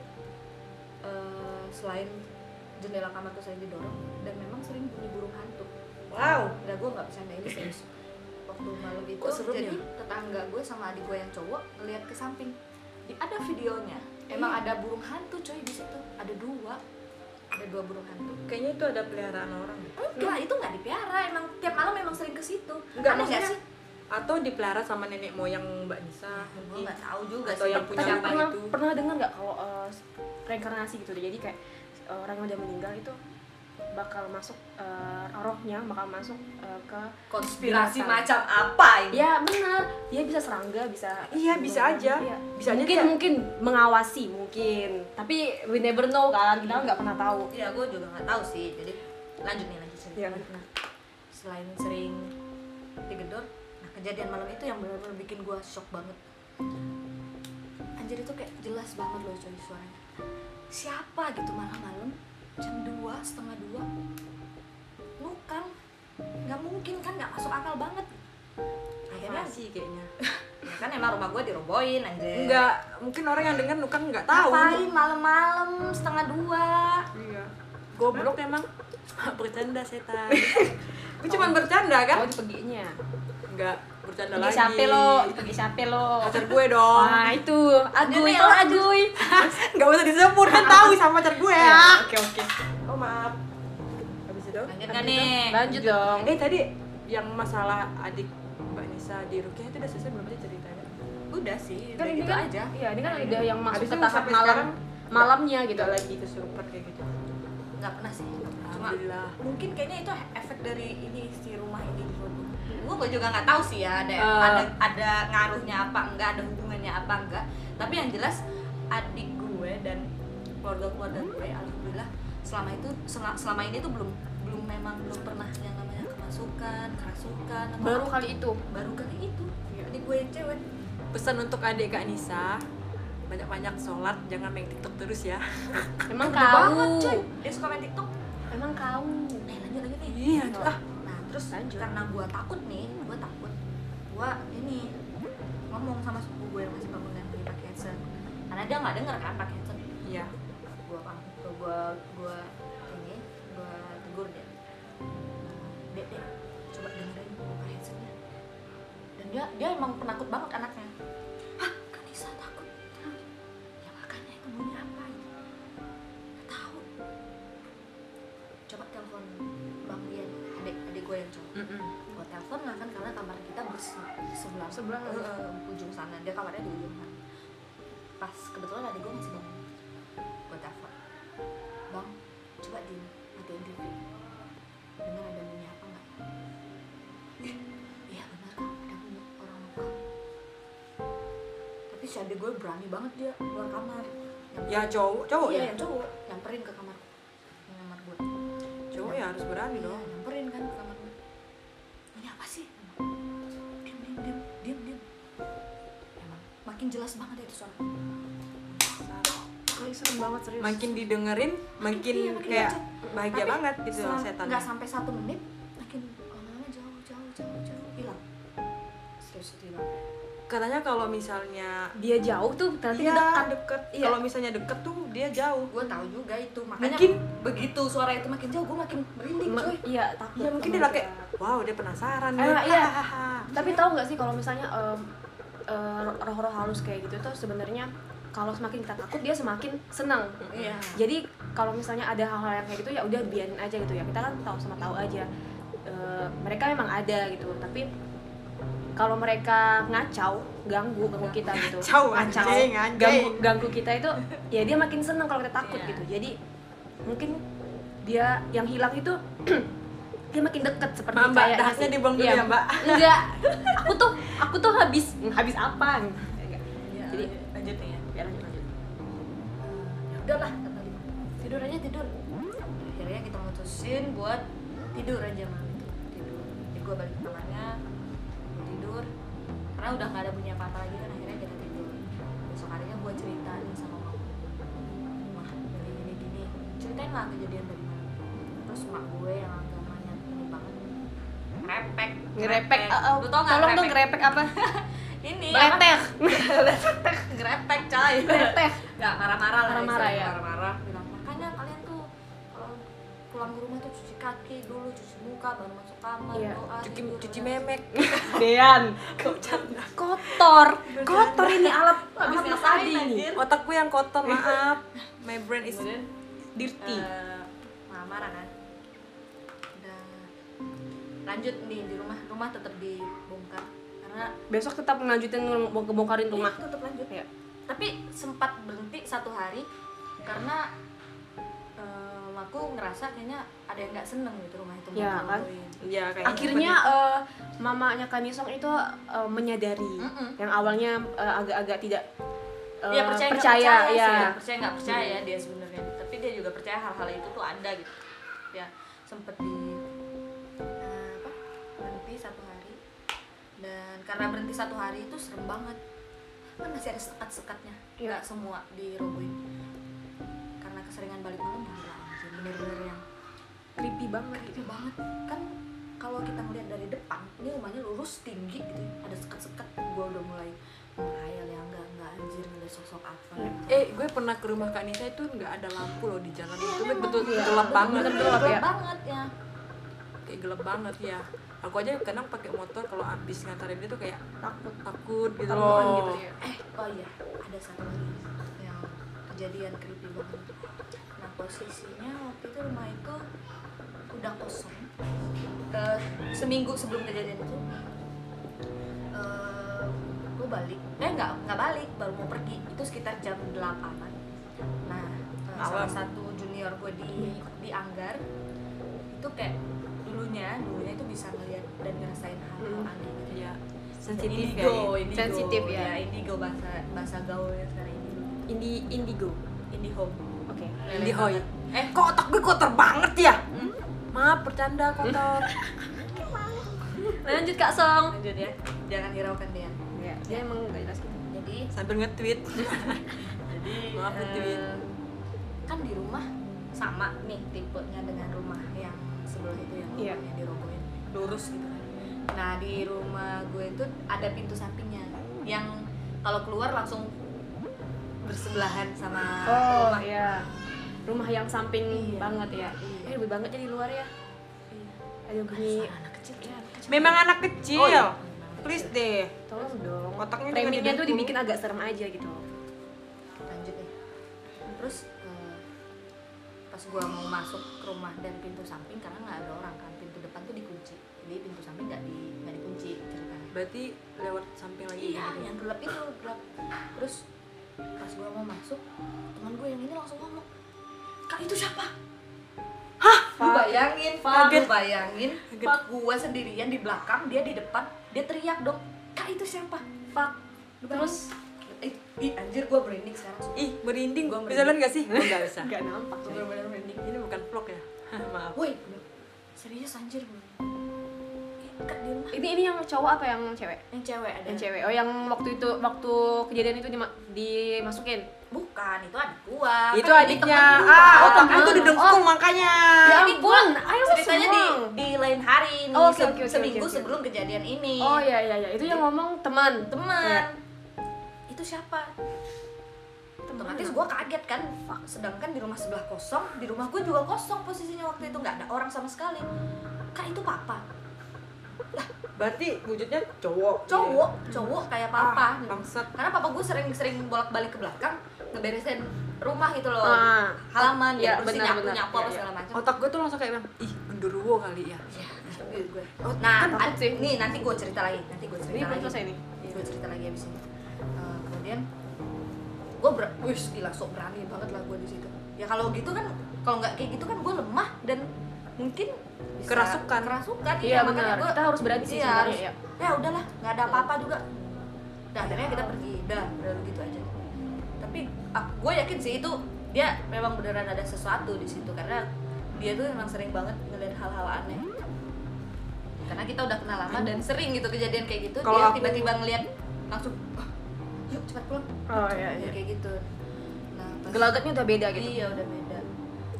Speaker 2: eh, selain jendela kamarku sering didorong dan memang sering bunyi burung hantu
Speaker 1: Wow.
Speaker 2: nggak gue nggak bisa ini serius waktu malam itu
Speaker 1: Kok serem
Speaker 2: jadi
Speaker 1: ya?
Speaker 2: tetangga gue sama adik gue yang cowok ngeliat ke samping Di- ada videonya emang ada burung hantu coy di situ ada dua ada dua burung hantu
Speaker 1: Kayaknya itu ada peliharaan orang.
Speaker 2: Enggak, itu enggak dipiara. Emang tiap malam emang sering ke situ.
Speaker 1: Enggak,
Speaker 2: Aneh
Speaker 1: maksudnya
Speaker 2: nggak sih?
Speaker 1: atau dipelihara sama nenek moyang Mbak Nisa. Iya,
Speaker 2: Gue Ah, enggak tahu juga
Speaker 1: Atau
Speaker 2: sih.
Speaker 1: yang punya
Speaker 3: Tapi
Speaker 2: ya?
Speaker 1: apa
Speaker 3: pernah,
Speaker 1: itu?
Speaker 3: pernah dengar nggak kalau eh, reinkarnasi gitu deh. Jadi kayak eh, orang yang udah meninggal itu bakal masuk eh, rohnya bakal masuk eh, ke
Speaker 2: konspirasi
Speaker 3: Binatang.
Speaker 2: macam apa ini?
Speaker 3: ya benar dia bisa serangga bisa
Speaker 1: Iya, bisa aja.
Speaker 3: Iya.
Speaker 1: Bisa aja
Speaker 3: mungkin
Speaker 1: dia-
Speaker 3: mungkin mengawasi mungkin tapi we never know kan kita nggak pernah tahu
Speaker 2: Ya, gue juga enggak tahu sih. Jadi lanjut nih lanjut sih.
Speaker 3: Iya.
Speaker 2: Nah, selain sering digedor, nah kejadian malam itu yang benar-benar bikin gue shock banget. Anjir itu kayak jelas banget loh coy suaranya. Siapa gitu malam-malam jam 2, setengah 2 nukang nggak mungkin kan nggak masuk akal banget akhirnya
Speaker 1: sih kayaknya.
Speaker 2: *laughs* Ya kan emang rumah gue dirobohin anjir
Speaker 1: Enggak, mungkin orang yang dengar nukang enggak tahu.
Speaker 2: ngapain malam-malam setengah dua
Speaker 1: Iya. Goblok emang. *laughs* bercanda *laughs* setan. Gue cuman bercanda kan?
Speaker 3: oh itu peginya
Speaker 1: Enggak, Oh, bercanda
Speaker 3: pergi
Speaker 1: lagi. Oh.
Speaker 3: siapa lo itu pergi siapa lo
Speaker 1: Pacar gue dong.
Speaker 3: ah itu oh,
Speaker 2: Jadi,
Speaker 3: agui itu agui
Speaker 1: *laughs* Enggak usah disebut kan tahu sama pacar gue ya. Oke, oke. Oh, maaf. Habis itu?
Speaker 2: lanjut nggak nih
Speaker 3: lanjut dong
Speaker 1: Eh, tadi yang masalah adik Mbak Nisa di Rukiah itu udah selesai belum sih ceritanya?
Speaker 2: udah sih
Speaker 3: kan
Speaker 2: udah
Speaker 3: ini
Speaker 2: gitu
Speaker 3: kan
Speaker 2: aja
Speaker 3: iya ini kan ada yang masuk
Speaker 1: Habis
Speaker 3: ke
Speaker 1: itu
Speaker 3: tahap
Speaker 1: sampai
Speaker 3: malam
Speaker 1: sekarang
Speaker 3: malamnya gitu
Speaker 1: Udah lagi kesurupan kayak gitu.
Speaker 2: nggak pernah sih nggak pernah. cuma
Speaker 1: Alhamdulillah.
Speaker 2: mungkin kayaknya itu efek dari ini si rumah ini gue gue juga nggak tahu sih ya ada
Speaker 1: Eh.
Speaker 2: ada ada ngaruhnya apa enggak ada hubungannya apa enggak tapi yang jelas adik gue dan keluarga keluarga gue alhamdulillah selama itu sel- selama ini tuh belum belum memang belum pernah yang namanya kemasukan kerasukan atau
Speaker 3: baru
Speaker 2: apa.
Speaker 3: kali itu
Speaker 2: baru kan? Iya. kali itu adik gue yang cewek
Speaker 1: Pesan untuk adik Kak Nisa, banyak-banyak sholat, jangan main TikTok terus ya.
Speaker 3: emang
Speaker 2: Gede
Speaker 3: kau
Speaker 2: banget cuy dia suka main tiktok
Speaker 3: emang kau
Speaker 2: eh lanjut lanjut nih
Speaker 1: Iya, lanjut ah.
Speaker 2: nah terus
Speaker 3: Lanjut.
Speaker 2: karena gue takut nih gue takut gue ini ngomong sama sepupu gue yang masih bangun dan beli pakai headset karena dia nggak denger kan pakai headset
Speaker 1: Iya.
Speaker 2: gue pang gue gue ini gue tegur dia dek dek coba dengerin buka headsetnya dan dia dia emang penakut banget anaknya hah Kanisa takut Takut. ya makanya itu bunyi apa ini nggak tahu coba telepon bang Dian adik adik gue yang cowok
Speaker 1: Mm-mm.
Speaker 2: gue telepon lah kan karena kamar kita berse sebelah
Speaker 3: Sebelah.
Speaker 2: Eh, ujung sana dia kamarnya di ujung sana pas kebetulan adik gue masih bangun gue telepon bang coba di matiin TV dengar ada bunyi apa nggak "Ih, iya benar kan ada bunyi orang nukang tapi si adik gue berani banget dia keluar kamar
Speaker 1: Ya cowok, cowok
Speaker 2: iya
Speaker 1: ya.
Speaker 2: yang cowok nyamperin ke kamar ke kamar gue
Speaker 1: Cowok ya harus berani
Speaker 2: Iya,
Speaker 1: dong.
Speaker 2: nyamperin kan ke kamar gue ini apa sih diam diam diam diam diam emang makin jelas banget ya itu suara Guys,
Speaker 3: serem banget serius.
Speaker 1: makin didengerin makin
Speaker 2: Iya, makin
Speaker 1: kayak
Speaker 2: baca.
Speaker 1: bahagia
Speaker 2: Tapi
Speaker 1: banget gitu
Speaker 2: Selang-
Speaker 1: setan
Speaker 2: nggak sampai satu menit makin lama-lama jauh jauh jauh jauh hilang serius itu hilang
Speaker 1: katanya kalau misalnya
Speaker 3: dia jauh tuh nanti
Speaker 1: Iya,
Speaker 3: dekat
Speaker 1: deket
Speaker 2: Iya.
Speaker 1: kalau misalnya deket tuh dia jauh
Speaker 2: gue tahu juga itu makanya
Speaker 1: Mungkin
Speaker 2: begitu suara itu makin jauh gue makin merinding
Speaker 3: Ma-
Speaker 2: coy
Speaker 3: iya takut.
Speaker 1: ya mungkin dia
Speaker 3: sama
Speaker 1: lah kayak wow dia
Speaker 3: Ah,
Speaker 1: penasaran nih *laughs*
Speaker 3: iya.
Speaker 1: Hahaha.
Speaker 3: tapi tahu nggak sih kalau misalnya em, eh, roh-roh halus kayak gitu tuh sebenarnya kalau semakin kita takut dia semakin senang
Speaker 2: iya
Speaker 3: jadi kalau misalnya ada hal-hal yang kayak gitu ya udah biarin aja gitu ya kita kan tahu sama tahu aja Eh, mereka memang ada gitu tapi kalau mereka ngacau ganggu ganggu kita gitu
Speaker 1: Iya. Ngacau, anjing, anjing.
Speaker 3: ganggu ganggu kita itu ya dia makin seneng kalau kita takut
Speaker 2: Iya.
Speaker 3: gitu jadi mungkin dia yang hilang itu *clears throat* dia makin deket seperti
Speaker 1: Mbak, mbak,
Speaker 3: kayaknya
Speaker 1: dahasnya
Speaker 3: sih.
Speaker 1: dibuang dulu
Speaker 3: Iya.
Speaker 1: ya, Mbak.
Speaker 3: enggak aku tuh aku tuh habis habis apa
Speaker 2: jadi
Speaker 3: Enggak. Jadi,
Speaker 2: Iya, lanjut nih ya
Speaker 3: ya lanjut lanjut
Speaker 2: Ya udahlah kata dia tidur aja tidur akhirnya kita mutusin buat tidur aja malam itu tidur jadi gue balik ke kamarnya gua tidur karena udah nggak ada punya apa-apa lagi kan akhirnya kita tidur besok harinya gue ceritain sama mama mah dari gini gini ceritain lah kejadian dari mana terus mak gue yang agamanya ini banget ngerepek
Speaker 3: ngerepek eh, eh,
Speaker 2: lu tau nggak
Speaker 3: tolong dong
Speaker 2: ngerepek
Speaker 3: ngerepek Iya. apa
Speaker 2: ini apa?
Speaker 3: Beleteh
Speaker 2: ngerepek coy
Speaker 3: *laughs* Beleteh
Speaker 2: Nggak, marah-marah lah
Speaker 3: Marah-marah ya?
Speaker 2: marah-marah bilang makanya kalian tuh kalau pulang ke rumah tuh cuci kaki dulu cuci muka baru masuk kamar
Speaker 3: Iya.
Speaker 2: doa
Speaker 1: cuci
Speaker 2: tidur,
Speaker 1: cuci
Speaker 2: udah."
Speaker 1: memek
Speaker 3: Dean kotor kotor ini alat
Speaker 2: Habis
Speaker 3: alat mas
Speaker 2: ngapain,
Speaker 3: Adi ini
Speaker 2: anjir?
Speaker 1: otakku yang kotor maaf my brain is
Speaker 2: kemudian
Speaker 1: dirty
Speaker 2: eh, marah-marah kan udah lanjut nih di rumah rumah tetap dibongkar karena
Speaker 3: besok tetap ngelanjutin ngebongkarin rumah
Speaker 2: Iya, tetap lanjut
Speaker 3: Iya.
Speaker 2: tapi sempat berhenti satu hari karena eh, aku ngerasa kayaknya ada yang nggak seneng gitu rumah itu
Speaker 3: Iya, kan?
Speaker 2: bantuin.
Speaker 1: ya kayaknya
Speaker 3: akhirnya eh, mamanya Kamisong itu eh, menyadari
Speaker 2: Mm-mm.
Speaker 3: yang awalnya eh, agak-agak tidak eh,
Speaker 2: Iya percaya nggak
Speaker 3: percaya,
Speaker 2: percaya
Speaker 3: ya
Speaker 2: sih, percaya nggak percaya ya dia sebenarnya tapi dia juga percaya hal-hal itu tuh ada gitu ya sempet di eh, apa berhenti satu hari dan karena berhenti satu hari itu serem banget kan masih ada sekat-sekatnya
Speaker 3: Iya.
Speaker 2: nggak semua dirobohin karena keseringan balik malam gila anjir bener-bener yang
Speaker 3: creepy banget
Speaker 2: creepy banget kan kalau kita ngeliat dari depan ini rumahnya lurus tinggi gitu ya. ada sekat-sekat gua udah mulai menghayal ya nggak nggak anjir ngeliat sosok apa
Speaker 3: Iya.
Speaker 1: eh gue pernah ke rumah kak Nisa itu nggak ada lampu loh di jalan itu
Speaker 2: memang.
Speaker 1: betul
Speaker 3: Iya,
Speaker 1: gelap banget
Speaker 2: Bener-bener
Speaker 3: gelap ya?
Speaker 2: banget ya
Speaker 1: kayak gelap banget ya aku aja kadang pakai motor kalau abis ngantarin dia tuh kayak
Speaker 3: takut
Speaker 1: takut gitu
Speaker 3: Takutan
Speaker 1: loh
Speaker 3: gitu ya.
Speaker 2: eh oh iya ada satu lagi yang kejadian creepy banget nah posisinya waktu itu rumah itu udah kosong Eh, seminggu sebelum kejadian itu eh gue balik eh nggak nggak balik baru mau pergi itu sekitar jam 8an nah eh, salah
Speaker 1: Malam.
Speaker 2: satu junior gue di di Anggar itu kayak dulunya dulunya itu bisa ngeliat dan ngerasain hal-hal
Speaker 3: Hmm.
Speaker 2: aneh gitu
Speaker 1: Iya, sensitif ya
Speaker 2: indigo,
Speaker 1: ini.
Speaker 2: indigo.
Speaker 3: Sensitif ya.
Speaker 2: indigo bahasa bahasa gaulnya sekarang indigo
Speaker 3: Indi indigo
Speaker 2: indigo
Speaker 3: oke
Speaker 1: Indihoy.
Speaker 3: ya.
Speaker 2: eh
Speaker 1: kok otak gue kotor banget ya maaf bercanda *laughs* kotor
Speaker 3: lanjut Kak Song
Speaker 2: lanjut ya jangan hiraukan dia
Speaker 3: ya, dia emang nggak jelas gitu
Speaker 2: jadi
Speaker 1: sambil nge-tweet
Speaker 2: jadi
Speaker 1: Maaf,
Speaker 2: eh,
Speaker 1: Between.
Speaker 2: kan di rumah sama nih tipenya dengan rumah yang sebelah itu yang
Speaker 3: Iya.
Speaker 2: rumahnya dirobohin lurus gitu kan nah di rumah gue itu ada pintu sampingnya yang kalau keluar langsung bersebelahan sama
Speaker 3: Oh
Speaker 2: rumah
Speaker 3: iya. Rumah yang samping
Speaker 2: Iya.
Speaker 3: banget ya.
Speaker 2: Iya.
Speaker 3: Eh lebih banget ya di luar ya.
Speaker 2: Iya.
Speaker 3: Ayo bunyi.
Speaker 2: Suara anak kecil,
Speaker 3: Iya.
Speaker 2: anak kecil.
Speaker 1: memang anak kecil
Speaker 2: Oh, iya.
Speaker 1: please deh
Speaker 3: Tolong dong.
Speaker 1: Otaknya juga
Speaker 3: Framingnya tuh
Speaker 1: didukung.
Speaker 3: dibikin agak serem aja gitu.
Speaker 2: lanjut deh terus eh, pas gua mau masuk ke rumah dan pintu samping karena nggak ada orang kan pintu depan tuh dikunci jadi pintu samping nggak di nggak dikunci ceritanya
Speaker 1: berarti lewat samping lagi
Speaker 2: iya
Speaker 1: gitu.
Speaker 2: yang gelap itu gelap terus pas gua mau masuk teman gue yang ini langsung ngomong kak itu siapa Lu bayangin, Pak, lu
Speaker 1: Kaget.
Speaker 2: bayangin
Speaker 1: Kaget.
Speaker 2: Pak gue sendirian di belakang, dia di depan Dia teriak dong, kak itu siapa? Pak
Speaker 3: Terus
Speaker 2: Ih, ih, anjir gue merinding sekarang sumpah.
Speaker 1: ih merinding
Speaker 2: Gua
Speaker 1: bisa jalan *laughs* gak sih nggak bisa
Speaker 3: nggak nampak.
Speaker 2: Gue bener-bener merinding
Speaker 1: ini bukan vlog ya *laughs* maaf
Speaker 2: Woi, serius anjir Eh, gue. Kak di rumah
Speaker 3: Ini ini yang cowok apa yang cewek?
Speaker 2: yang cewek ada.
Speaker 3: Yang cewek. Oh yang waktu itu waktu kejadian itu dima- dimasukin.
Speaker 2: bukan itu adik gua
Speaker 1: itu
Speaker 2: Kan ini
Speaker 1: adiknya
Speaker 2: temen gua.
Speaker 1: ah
Speaker 2: Oh,
Speaker 1: otak
Speaker 2: temen.
Speaker 1: itu didengkung makanya
Speaker 2: Ya
Speaker 3: Ya
Speaker 2: gua
Speaker 3: ampun, ayo lah
Speaker 2: ceritanya di
Speaker 3: semua.
Speaker 2: di lain hari nih
Speaker 3: Oh, oke,
Speaker 2: se-
Speaker 3: oke, oke,
Speaker 2: seminggu
Speaker 3: oke, oke.
Speaker 2: sebelum kejadian ini
Speaker 3: Oh iya iya iya, itu yang ngomong teman.
Speaker 2: teman
Speaker 3: Iya.
Speaker 2: itu siapa otomatis gue kaget kan Fuck, sedangkan di rumah sebelah kosong di rumah gue juga kosong posisinya waktu itu nggak ada orang sama sekali kak itu papa
Speaker 3: Iya.
Speaker 1: berarti wujudnya cowok
Speaker 2: cowok cowok kayak
Speaker 1: Ah,
Speaker 2: papa
Speaker 1: bangsat
Speaker 2: karena papa gue sering-sering bolak-balik ke belakang ngeberesin rumah gitu loh
Speaker 3: Ah.
Speaker 2: halaman ya,
Speaker 3: Ya,
Speaker 2: bersih
Speaker 3: benar,
Speaker 2: nyapu
Speaker 3: benar.
Speaker 2: nyapu
Speaker 3: Ya,
Speaker 2: apa
Speaker 3: ya.
Speaker 2: segala macam
Speaker 1: otak gue tuh langsung kayak bilang ih genderuwo kali ya
Speaker 2: nah
Speaker 3: Kan
Speaker 2: an-
Speaker 3: sih.
Speaker 2: nih nanti gue cerita lagi nanti gue cerita
Speaker 3: Ini belum
Speaker 2: lagi
Speaker 3: selesai nih.
Speaker 2: gue cerita lagi abis ini Eh, kemudian gue ber wih gila sok berani banget lah gue di situ ya kalau gitu kan kalau nggak kayak gitu kan gue lemah dan mungkin bisa
Speaker 1: Kerasukan.
Speaker 2: kerasukan
Speaker 3: Iya
Speaker 2: makanya
Speaker 3: benar.
Speaker 2: gua-
Speaker 3: Kita harus berani sih
Speaker 2: Iya, harus.
Speaker 3: sebenarnya ya.
Speaker 2: ya udahlah nggak ada apa-apa juga nah akhirnya kita pergi udah udah gitu aja tapi gue yakin sih itu dia memang beneran ada sesuatu di situ karena dia tuh memang sering banget ngeliat hal-hal aneh karena kita udah kenal lama dan sering gitu kejadian kayak gitu
Speaker 1: Kalau
Speaker 2: dia
Speaker 1: aku-
Speaker 2: tiba-tiba ngeliat langsung "Ah, yuk cepat pulang
Speaker 3: Oh iya iya.
Speaker 2: kayak gitu nah pas-
Speaker 3: Gelagatnya udah beda gitu.
Speaker 2: iya udah beda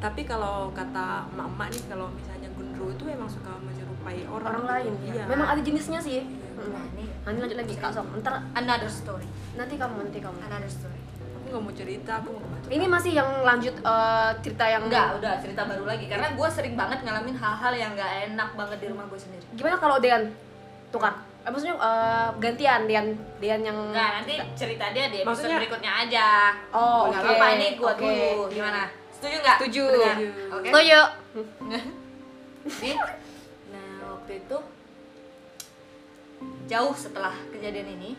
Speaker 1: tapi kalau kata emak-emak nih kalau misalnya genderuwo itu emang suka menyerupai orang
Speaker 3: Orang lain
Speaker 1: iya
Speaker 3: ya. Memang ada jenisnya sih.
Speaker 2: nah
Speaker 3: Mm.
Speaker 2: ini
Speaker 3: Nanti lanjut lagi Kak Song. Ntar
Speaker 2: another story
Speaker 3: nanti kamu nanti kamu.
Speaker 2: another story
Speaker 1: aku nggak mau cerita aku mau baca
Speaker 3: Ini masih yang lanjut eh, cerita yang
Speaker 2: Enggak, udah cerita baru lagi karena gue sering banget ngalamin hal-hal yang nggak enak banget di rumah gue sendiri.
Speaker 3: Gimana kalau Dean tukar? Eh, maksudnya eh, gantian Dean Dean yang
Speaker 2: Enggak, nanti cerita dia di episode
Speaker 1: Maksudnya-
Speaker 2: berikutnya aja.
Speaker 3: Oh,
Speaker 2: Nggak
Speaker 3: oke.
Speaker 2: apa-apa ini gue
Speaker 3: Oke.
Speaker 2: dulu. Gimana? Setuju nggak?
Speaker 3: Setuju.
Speaker 2: Dengar? Oke.
Speaker 3: Setuju.
Speaker 2: Jadi, nah waktu itu jauh setelah kejadian ini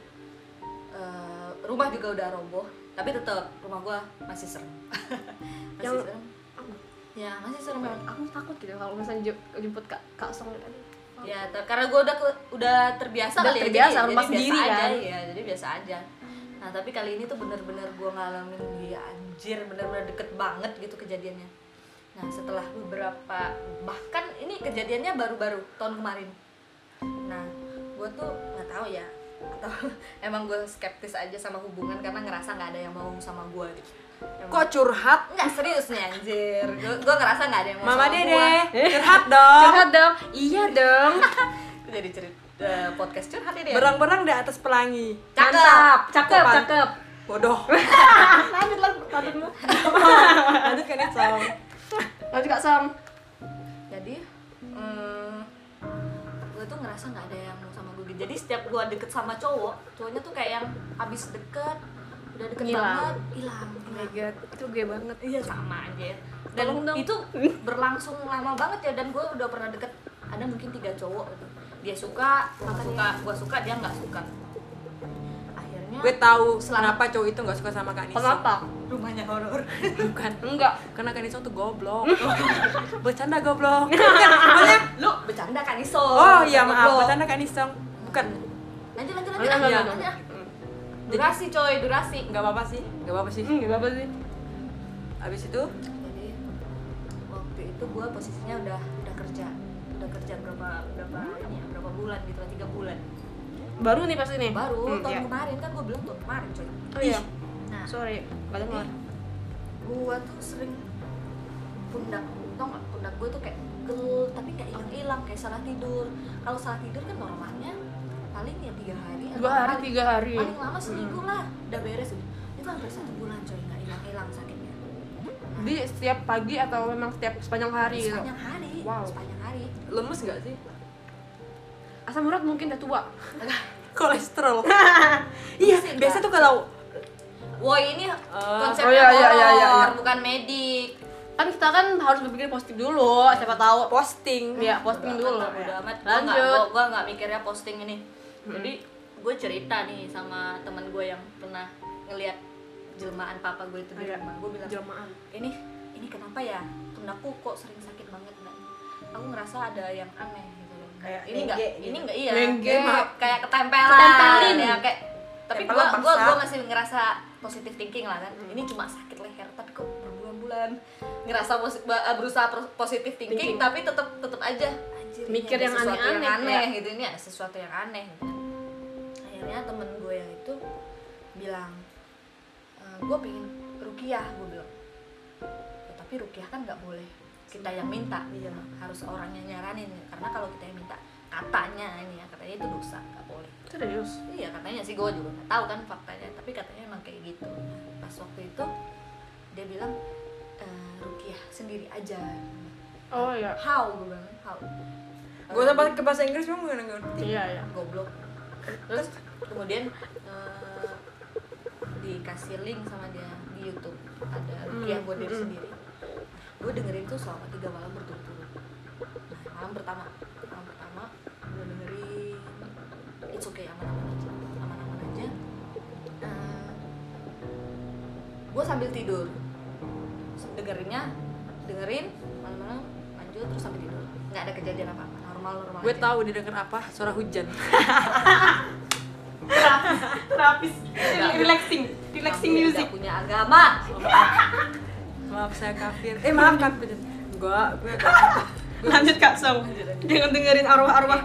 Speaker 2: eh, rumah juga udah roboh, tapi tetap rumah gue masih serem. *laughs* masih
Speaker 3: Yang-
Speaker 2: serem. Ya masih serem banget.
Speaker 3: Aku takut gitu kalau misalnya jem- jemput Kak Kak Song kan.
Speaker 2: Ya, ter- karena gue udah ke- udah terbiasa
Speaker 3: Udah
Speaker 2: kali ya,
Speaker 3: terbiasa,
Speaker 2: jadi-
Speaker 3: rumah
Speaker 2: jadi biasa
Speaker 3: sendiri
Speaker 2: aja,
Speaker 3: kan.
Speaker 2: ya, jadi biasa aja. Nah, tapi kali ini tuh bener-bener gue ngalamin dia anjir, bener-bener deket banget gitu kejadiannya. Nah, setelah beberapa bahkan ini kejadiannya baru-baru tahun kemarin. Nah, gue tuh nggak tahu ya atau *laughs* emang gue skeptis aja sama hubungan karena ngerasa nggak ada yang mau sama gue gitu. Emang-
Speaker 1: kok curhat
Speaker 2: Nggak serius nih anjir, gue ngerasa nggak ada yang mau
Speaker 1: mama
Speaker 2: sama
Speaker 1: dede
Speaker 2: gua.
Speaker 1: curhat dong
Speaker 3: Curhat dong. Iya dong.
Speaker 2: Jadi cerita podcast curhat ini ya.
Speaker 1: berang-berang di atas pelangi
Speaker 2: Cakep.
Speaker 3: Mantap. Cakep,
Speaker 1: Apaan?
Speaker 3: cakep.
Speaker 1: bodoh
Speaker 3: Lanjut lanjut lanjut dulu.
Speaker 1: lanjut kan itu
Speaker 3: Lanjut Kak Song.
Speaker 2: jadi eh, gue tuh ngerasa nggak ada yang mau sama gue gitu. jadi setiap gue deket sama cowok cowoknya tuh kayak yang habis deket udah deket
Speaker 3: Ngilang.
Speaker 2: banget hilang
Speaker 3: Oh my god, itu gue banget.
Speaker 2: iya sama aja dan
Speaker 3: Tolong dong.
Speaker 2: itu berlangsung lama banget ya dan gue udah pernah deket ada mungkin tiga cowok gitu. dia suka gue
Speaker 3: Makanya.
Speaker 2: suka gue suka dia nggak suka akhirnya
Speaker 1: gue tahu
Speaker 2: Selamat.
Speaker 1: kenapa cowok itu nggak suka sama kak Nisong
Speaker 3: Kenapa?
Speaker 2: rumahnya horor
Speaker 1: bukan
Speaker 3: Enggak.
Speaker 1: karena kak Nisong tuh goblok bercanda goblok *laughs* bukan maksudnya
Speaker 2: lu bercanda kan iso
Speaker 1: oh iya maaf
Speaker 2: lanjut
Speaker 1: bercanda kak Nisong bukan
Speaker 2: lanjut lanjut
Speaker 3: Enggak,
Speaker 2: lanjut,
Speaker 3: enggak,
Speaker 2: lanjut.
Speaker 3: enggak.
Speaker 2: durasi coy durasi
Speaker 1: nggak apa-apa sih nggak apa-apa sih
Speaker 3: Enggak apa sih.
Speaker 1: abis itu
Speaker 2: jadi waktu itu gue posisinya udah udah kerja udah kerja berapa berapa ini ya, berapa bulan gitu lah tiga bulan
Speaker 3: Baru nih pasti nih.
Speaker 2: baru
Speaker 3: Hmm,
Speaker 2: tahun
Speaker 3: iya.
Speaker 2: kemarin kan gue bilang tahun kemarin coy
Speaker 3: Oh iya.
Speaker 2: nah
Speaker 3: Sorry, gak dengar.
Speaker 2: Iya, gue tuh sering pundak tau nggak pundak gue tuh kayak gel tapi kayak
Speaker 3: Oh.
Speaker 2: hilang hilang kayak salah tidur kalau salah tidur kan normalnya paling ya tiga hari atau
Speaker 3: Dua hari, Hmm.
Speaker 2: paling-
Speaker 3: tiga hari.
Speaker 2: paling lama seminggu lah udah beres udah. itu hampir satu bulan coy nggak hilang hilang sakitnya
Speaker 3: Di setiap pagi atau memang setiap sepanjang hari gitu?
Speaker 2: sepanjang hari
Speaker 3: Wow.
Speaker 2: sepanjang hari
Speaker 1: lemes nggak sih *laughs*
Speaker 3: Asam urat mungkin udah tua.
Speaker 1: kolesterol iya
Speaker 2: Sih,
Speaker 1: biasa
Speaker 2: Kak.
Speaker 1: tuh kalau
Speaker 2: Woi ini konsepnya
Speaker 3: oh iya, iya, iya, iya,
Speaker 2: horor,
Speaker 3: iya.
Speaker 2: bukan medik.
Speaker 3: Kan kita kan harus berpikir positif dulu, siapa tahu.
Speaker 1: posting
Speaker 3: Iya, posting
Speaker 2: Bodo
Speaker 3: dulu.
Speaker 2: amat,
Speaker 3: ya.
Speaker 2: bodo amat. Gua nggak-
Speaker 3: Lanjut. Hmm.
Speaker 2: gua- Gua nggak mikirnya posting ini. Jadi gue cerita nih sama teman gue yang pernah ngelihat jelmaan papa gue itu di
Speaker 3: Iya.
Speaker 2: rumah. Gue bilang
Speaker 3: Jelmaan.
Speaker 2: ini ini kenapa ya pundakku kok sering sakit banget dan aku ngerasa ada yang aneh gitu loh.
Speaker 1: Kayak
Speaker 2: ini nggak
Speaker 1: lengge
Speaker 2: ini nggak iya.
Speaker 3: Lengge.
Speaker 2: Ini mah kayak ketempelan.
Speaker 3: Ketempelin.
Speaker 2: Ya, kayak tapi gue
Speaker 1: Tempelan
Speaker 2: gua,
Speaker 1: paksa.
Speaker 2: gua masih ngerasa positive thinking lah kan ini cuma sakit leher tapi kok berbulan-bulan ngerasa posi- ba- eh, berusaha pro- positive thinking,
Speaker 3: Thinking.
Speaker 2: tapi tetap tetap aja Anjir, ini
Speaker 3: Mikir
Speaker 2: ada
Speaker 3: yang
Speaker 2: sesuatu yang
Speaker 3: aneh-aneh,
Speaker 2: aneh gitu ini ada sesuatu yang aneh gitu kan. akhirnya temen gue yang itu bilang gue "E, pengen rukiah gue bilang "Ya, tapi rukiah kan nggak boleh kita yang minta
Speaker 4: Iya.
Speaker 2: harus orang yang nyaranin karena kalau kita yang minta katanya ini ya katanya itu dosa nggak boleh
Speaker 1: Serius?
Speaker 2: iya katanya sih gue juga nggak tahu kan faktanya tapi katanya emang kayak gitu Nah, pas waktu itu dia bilang "E, rukiah sendiri aja
Speaker 1: Oh iya.
Speaker 2: how gue bilang how
Speaker 1: Gue sempat ke bahasa Inggris memang gak ngerti.
Speaker 3: Iya, iya.
Speaker 2: goblok terus kemudian eh, dikasih link sama dia di YouTube ada rukiah buat diri
Speaker 1: Hmm.
Speaker 2: sendiri gue dengerin tuh selama tiga malam berturut-turut nah, malam pertama malam pertama gue dengerin it's okay aman-aman aja aman-aman aja Eh, gue sambil tidur dengerinnya dengerin malam-malam lanjut terus sampai tidur nggak ada kejadian apa-apa normal normal
Speaker 1: Gue tahu didengar apa suara hujan.
Speaker 4: terapis
Speaker 1: relaxing, relaxing
Speaker 2: Aku
Speaker 1: music.
Speaker 2: nggak punya agama
Speaker 1: Maaf saya kafir. Eh maaf kafir. Enggak, gue gak.
Speaker 5: Lanjut Kak Sam. Jangan dengerin arwah-arwah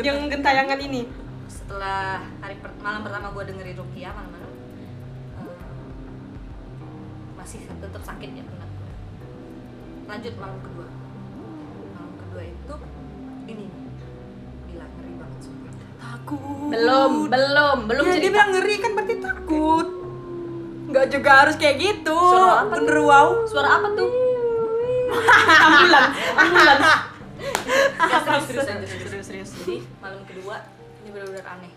Speaker 5: yang gentayangan ini.
Speaker 2: setelah hari per- malam pertama gue dengerin Rukia malam-malam eh, masih tetap sakit ya benar lanjut malam kedua malam kedua itu ini gila ngeri banget sumpah
Speaker 1: Takut.
Speaker 2: belum belum belum
Speaker 3: Iya,
Speaker 1: ya, dia
Speaker 2: cerita
Speaker 1: bilang ngeri kan berarti takut. Enggak juga harus kayak gitu.
Speaker 2: Suara apa
Speaker 1: Bener wow.
Speaker 2: suara apa tuh ambulan ambulan *laughs* serius serius serius
Speaker 5: Serius, serius.
Speaker 2: jadi malam kedua ini benar-benar aneh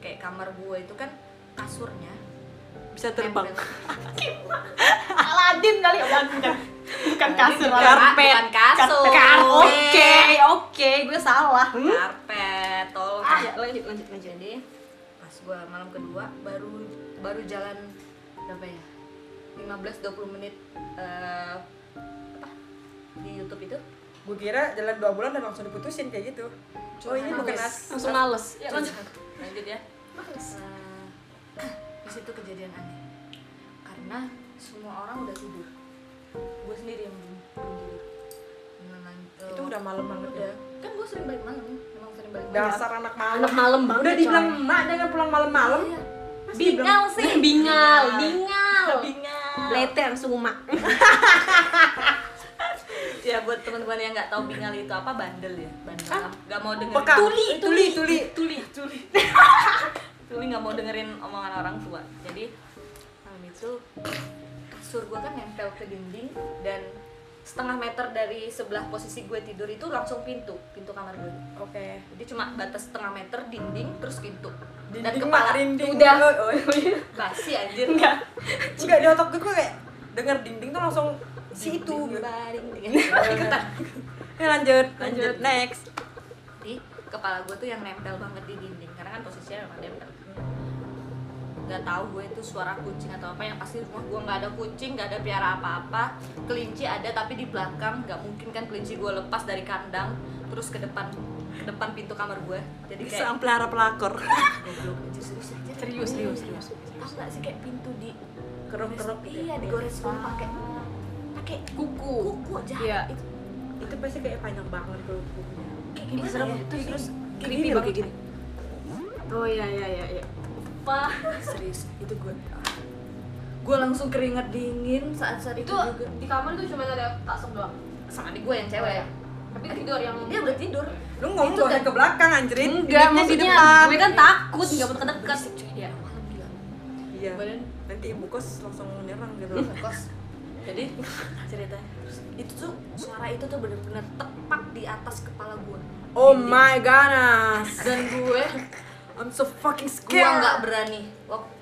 Speaker 2: kayak kamar gue itu kan kasurnya
Speaker 1: Bisa terbang.
Speaker 2: nempel-
Speaker 5: Aladin kali Aladin kan. Bukan kasur.
Speaker 2: Bukan
Speaker 1: karpet.
Speaker 2: bukan kasur
Speaker 5: Kar- Oke, oke, gue salah.
Speaker 2: karpet tolong
Speaker 3: Ah, iya.
Speaker 5: lanjut lanjut lanjut.
Speaker 2: jadi pas gua malam kedua baru baru jalan berapa ya 15-20 menit eh, apa di YouTube itu
Speaker 1: Gue kira jalan 2 bulan dan langsung diputusin kayak gitu. Oh ini bukan as.
Speaker 3: Langsung males. Ya, lanjut.
Speaker 2: lanjut ya Eh, di situ kejadian aneh karena semua orang udah tidur gue sendiri yang belum belum tidur Menenang, eh,
Speaker 1: Itu udah malam banget ya.
Speaker 2: udah kan gue sering balik malam emang sering balik malam
Speaker 1: Dasar anak malam.
Speaker 3: Anak malam banget.
Speaker 1: Udah dibilang emak jangan pulang malam-malam.
Speaker 2: Iya.
Speaker 1: Pasti
Speaker 2: bingal
Speaker 1: dibilang-
Speaker 2: sih
Speaker 5: Bingal, bingal.
Speaker 2: bingal
Speaker 5: Lete langsung umak.
Speaker 2: ya buat teman-teman yang nggak tahu bingal itu apa bandel ya bandel nggak mau dengerin
Speaker 1: Peka.
Speaker 2: tuli
Speaker 1: Eh, tuli, tuli,
Speaker 2: tuli tuli tuli nggak mau dengerin omongan orang tua jadi malam itu kasur gue kan nempel ke dinding dan setengah meter dari sebelah posisi gue tidur itu langsung pintu pintu kamar gue
Speaker 1: Oke.
Speaker 2: jadi cuma batas setengah meter dinding terus pintu dan
Speaker 1: Dinding
Speaker 2: kepala
Speaker 1: mah, dinding.
Speaker 2: udah
Speaker 1: Oh, iya.
Speaker 2: basi anjir enggak
Speaker 1: Enggak di otak gue kayak denger dinding tuh langsung si itu.
Speaker 2: ikutan
Speaker 1: Ya lanjut,
Speaker 2: Lanjut.
Speaker 1: lanjut next.
Speaker 2: di kepala gue tuh yang nempel banget di dinding karena kan posisinya memang nempel nggak tahu gue itu suara kucing atau apa yang pasti rumah gue nggak ada kucing nggak ada piara apa-apa kelinci ada tapi di belakang nggak mungkin kan kelinci gue lepas dari kandang terus ke depan ke depan pintu kamar gue jadi kayak
Speaker 1: Bisa pelihara pelakor.
Speaker 2: goblok anjir, serius aja
Speaker 3: Serius, serius, serius.
Speaker 2: tahu nggak sih kayak pintu di
Speaker 1: Kerok-kerok gitu ya?
Speaker 2: iya digores gue pakai pakai kuku kuku jahat
Speaker 3: Iya.
Speaker 2: itu
Speaker 1: Itu pasti kayak panjang banget kalau bukunya.
Speaker 2: kayak gimana
Speaker 3: serem.
Speaker 2: ya?
Speaker 3: Terus- gitu. terus
Speaker 1: Creepy loh kayak gini.
Speaker 3: Oh iya iya iya iya.
Speaker 2: Wah, serius itu gue gue langsung keringat dingin saat saat itu,
Speaker 3: Itu
Speaker 2: juga
Speaker 3: di kamar itu cuma ada Kak Sam doang.
Speaker 2: sama adik gue yang cewek ya
Speaker 3: Tapi tidur yang
Speaker 2: dia udah tidur
Speaker 1: Lu ngomong
Speaker 2: Itu
Speaker 1: gua
Speaker 2: dan-
Speaker 1: ke belakang anjrit.
Speaker 3: Enggak,
Speaker 1: Dindingnya di
Speaker 3: maksudnya
Speaker 1: depan.
Speaker 3: gue kan takut, enggak mau dekat-dekat. Iya.
Speaker 2: Malam gila.
Speaker 1: Iya.
Speaker 2: Badan-
Speaker 1: Nanti ibu kos langsung menyerang gitu.
Speaker 3: Hmm.
Speaker 2: kos jadi ceritanya terus itu tuh suara itu tuh bener-bener tepat di atas kepala gue
Speaker 1: Oh my goodness.
Speaker 2: dan gue
Speaker 1: I'm so fucking
Speaker 2: gue
Speaker 1: scared.
Speaker 2: nggak berani waktu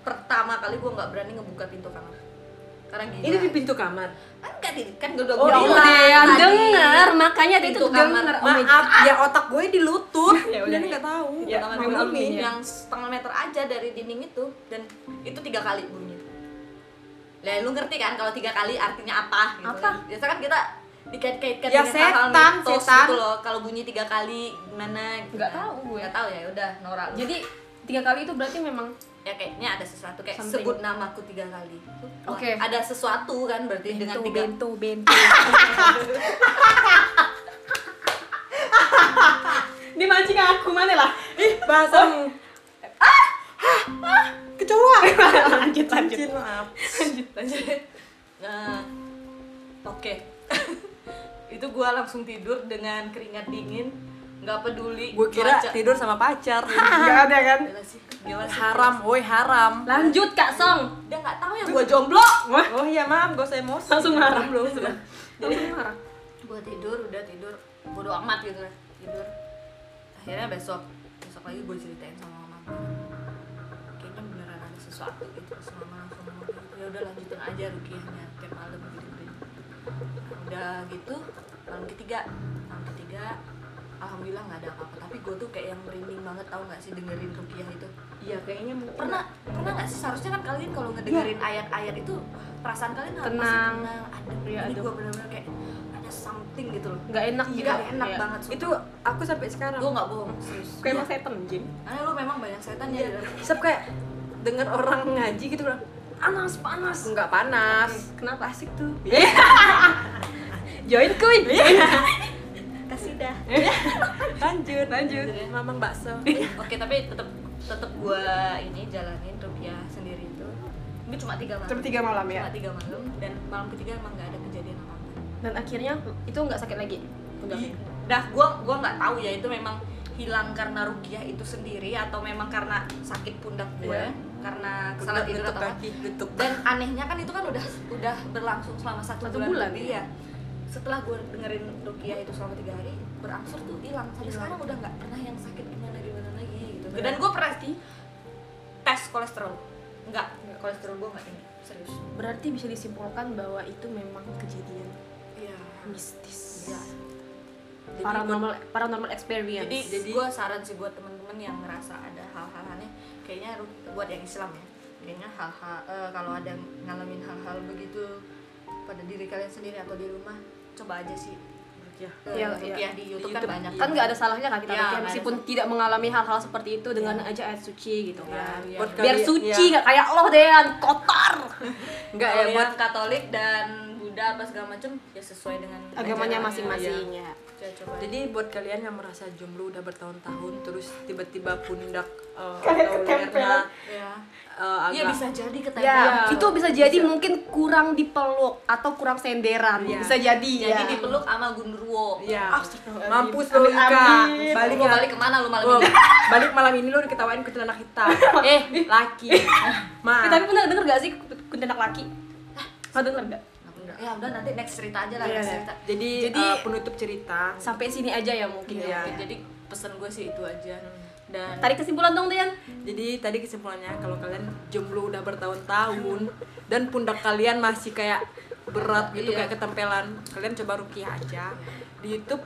Speaker 2: pertama kali gue nggak berani ngebuka pintu kamar karena gila
Speaker 1: Ini di pintu kamar.
Speaker 2: kan kan, kan gue udah
Speaker 1: Oh,
Speaker 2: bilang
Speaker 1: iya,
Speaker 2: tadi.
Speaker 3: ya denger, makanya dia
Speaker 2: Pintu
Speaker 3: itu
Speaker 2: kamar.
Speaker 3: denger. Oh my
Speaker 1: Maaf, ya otak gue di lutut.
Speaker 3: *laughs* Ya udah.
Speaker 1: Jadi nggak tahu.
Speaker 2: ya,
Speaker 1: Maklumi.
Speaker 2: yang setengah meter aja dari dinding itu dan itu tiga kali bunyi lah lu ngerti kan kalau tiga kali artinya apa gitu
Speaker 3: Apa?
Speaker 2: kan. biasa kan kita dikait-kaitkan
Speaker 1: Ya, setan,
Speaker 2: mitos
Speaker 1: setan.
Speaker 2: gitu loh kalau bunyi tiga kali gimana gitu
Speaker 3: Nggak
Speaker 2: kan.
Speaker 3: tahu gue.
Speaker 2: nggak tahu ya udah Nora lu.
Speaker 3: Jadi tiga kali itu berarti memang
Speaker 2: ya kayaknya ada sesuatu kayak
Speaker 3: Something.
Speaker 2: sebut namaku tiga kali Wah,
Speaker 3: Oke.
Speaker 2: ada sesuatu kan berarti dengan tiga Iya,
Speaker 3: bento bento.
Speaker 5: Dia mancing aku mana lah?
Speaker 6: Oh.
Speaker 1: Ih, bahasamu. Ah! Ah! Kecoa. *laughs*
Speaker 6: lanjut lanjut
Speaker 1: Cincin maaf.
Speaker 2: lanjut lanjut nah oke *laughs* itu gua langsung tidur dengan keringat dingin nggak peduli
Speaker 1: Gue kira
Speaker 2: cuaca.
Speaker 1: tidur sama pacar.
Speaker 6: *laughs* nggak ada kan
Speaker 2: Gila sih gila sih
Speaker 1: haram, woi haram.
Speaker 2: lanjut kak Song dia nggak tahu yang gua jomblo
Speaker 6: wah
Speaker 1: Oh iya maaf, gak usah emosi.
Speaker 6: langsung marah
Speaker 1: belum.
Speaker 6: langsung marah
Speaker 2: gua tidur udah tidur bodo amat gitu lah tidur akhirnya besok besok lagi gue ceritain sama mama gua. kayaknya beneran ada sesuatu gitu terus mama langsung ngomong kayak gitu, ya udah lanjutin aja rukiahnya tiap malam gitu gitu Nah, udah gitu malam ketiga malam ketiga alhamdulillah nggak ada apa-apa tapi gue tuh kayak yang merinding banget tau nggak sih dengerin rukiah itu
Speaker 1: Iya kayaknya
Speaker 2: pernah pernah nggak sih seharusnya kan kalian kalau ngedengerin ayat-ayat itu wah, perasaan kalian apa sih?
Speaker 3: Iya. Tenang.
Speaker 2: tenang adem
Speaker 3: Iya,
Speaker 2: ini
Speaker 3: adem.
Speaker 2: gue bener-bener kayak ada something gitu loh
Speaker 3: nggak enak gitu
Speaker 2: nggak enak
Speaker 3: Iya.
Speaker 2: banget
Speaker 1: itu aku sampai sekarang.
Speaker 2: gue nggak bohong serius Iya.
Speaker 6: kayak emang setan jin
Speaker 2: karena lu memang banyak setan ya
Speaker 1: Sep kayak denger orang ngaji gitu bilang panas panas nggak panas kenapa asik tuh
Speaker 6: *laughs* join kuin
Speaker 2: kasih dah
Speaker 1: Iya. lanjut
Speaker 6: Lanjut.
Speaker 1: mamang bakso
Speaker 2: Iya. oke tapi tetep tetep gue ini jalanin rupiah sendiri itu ini cuma tiga malam
Speaker 6: Cuma tiga malam ya?
Speaker 2: cuma tiga malam dan malam ketiga emang nggak ada kejadian apa apa
Speaker 3: dan akhirnya itu nggak sakit lagi udah
Speaker 2: dah gue gua nggak tahu ya itu memang hilang karena rugiah itu sendiri atau memang karena sakit pundak gue
Speaker 1: Iya. kan?
Speaker 2: karena kesalahan tidur
Speaker 1: Getuk
Speaker 2: atau apa
Speaker 1: kaki getuk
Speaker 2: dan anehnya kan itu kan udah udah berlangsung selama satu,
Speaker 3: Satu bulan,
Speaker 2: bulan, lebih ya. setelah gue dengerin Rukia itu selama tiga hari berangsur tuh hilang sampai sekarang udah nggak pernah yang sakit gimana gimana lagi gitu dan gue pernah di tes kolesterol nggak kolesterol gue nggak ini serius
Speaker 3: berarti bisa disimpulkan bahwa itu memang kejadian
Speaker 2: iya
Speaker 3: mistis
Speaker 2: iya Jadi
Speaker 3: paranormal paranormal experience
Speaker 2: jadi, gue saran sih buat temen-temen yang ngerasa ada hal-hal aneh kayaknya ru- buat yang Islam ya kayaknya hal-hal eh, kalau ada yang ngalamin hal-hal begitu pada diri kalian sendiri atau di rumah coba aja sih
Speaker 1: Rukyah.
Speaker 2: Eh,
Speaker 3: Iya,
Speaker 2: rukyah di YouTube,
Speaker 1: YouTube,
Speaker 2: kan banyak
Speaker 3: kan nggak ada salahnya kan kita
Speaker 2: Iya,
Speaker 3: rukyah
Speaker 2: nggak ada
Speaker 3: meskipun
Speaker 2: salah.
Speaker 3: tidak mengalami hal-hal seperti itu dengan aja ayat suci gitu
Speaker 2: Iya,
Speaker 3: kan
Speaker 2: iya.
Speaker 1: Buat
Speaker 2: Kalau
Speaker 3: biar
Speaker 1: kalian-
Speaker 3: suci
Speaker 1: iya.
Speaker 3: nggak kayak lo Dean
Speaker 2: *laughs*
Speaker 3: kotor
Speaker 1: nggak ya buat
Speaker 2: yang Katolik dan Buddha apa segala macem ya sesuai dengan ajarannya.
Speaker 3: agamanya masing-masing ya
Speaker 2: Ya, coba aja.
Speaker 1: jadi buat kalian yang merasa jomblo udah bertahun-tahun terus tiba-tiba pundak eh,
Speaker 6: Kalian
Speaker 1: atau
Speaker 6: ketempelan.
Speaker 1: lehernya
Speaker 2: ya
Speaker 1: eh, agak
Speaker 2: Iya, bisa jadi ketempelan
Speaker 3: Ya, itu bisa jadi
Speaker 2: Bisa.
Speaker 3: mungkin kurang dipeluk atau kurang senderan.
Speaker 1: Iya.
Speaker 3: Bisa jadi
Speaker 2: jadi
Speaker 3: ya.
Speaker 2: dipeluk sama gundurwo
Speaker 1: Iya.
Speaker 6: Astagfirullahhaladzim.
Speaker 1: mampus
Speaker 6: Amin,
Speaker 1: lu Ika
Speaker 6: amin.
Speaker 1: balik
Speaker 2: balik
Speaker 1: ya
Speaker 2: balik kemana lu malam
Speaker 1: Wow,
Speaker 2: ini
Speaker 1: *laughs* balik malam ini lu diketawain ke celana hitam eh laki
Speaker 3: Eh,
Speaker 1: maaf
Speaker 3: tapi pernah denger gak sih kuntilanak laki? Pernah denger gak?
Speaker 2: ya udah nanti next cerita aja lah
Speaker 3: Iya.
Speaker 2: next cerita
Speaker 1: jadi,
Speaker 3: Jadi-
Speaker 1: eh, penutup cerita
Speaker 3: Sampai sini aja ya mungkin
Speaker 1: Iya.
Speaker 3: ya.
Speaker 2: Oke, jadi pesan gue sih itu aja
Speaker 1: Hmm.
Speaker 2: dan
Speaker 3: Tarik kesimpulan dong, Dean.
Speaker 1: Jadi tadi kesimpulannya kalau kalian jomblo udah bertahun-tahun dan pundak kalian masih kayak berat gitu
Speaker 2: Iya.
Speaker 1: kayak ketempelan, kalian coba rukiah aja. Di YouTube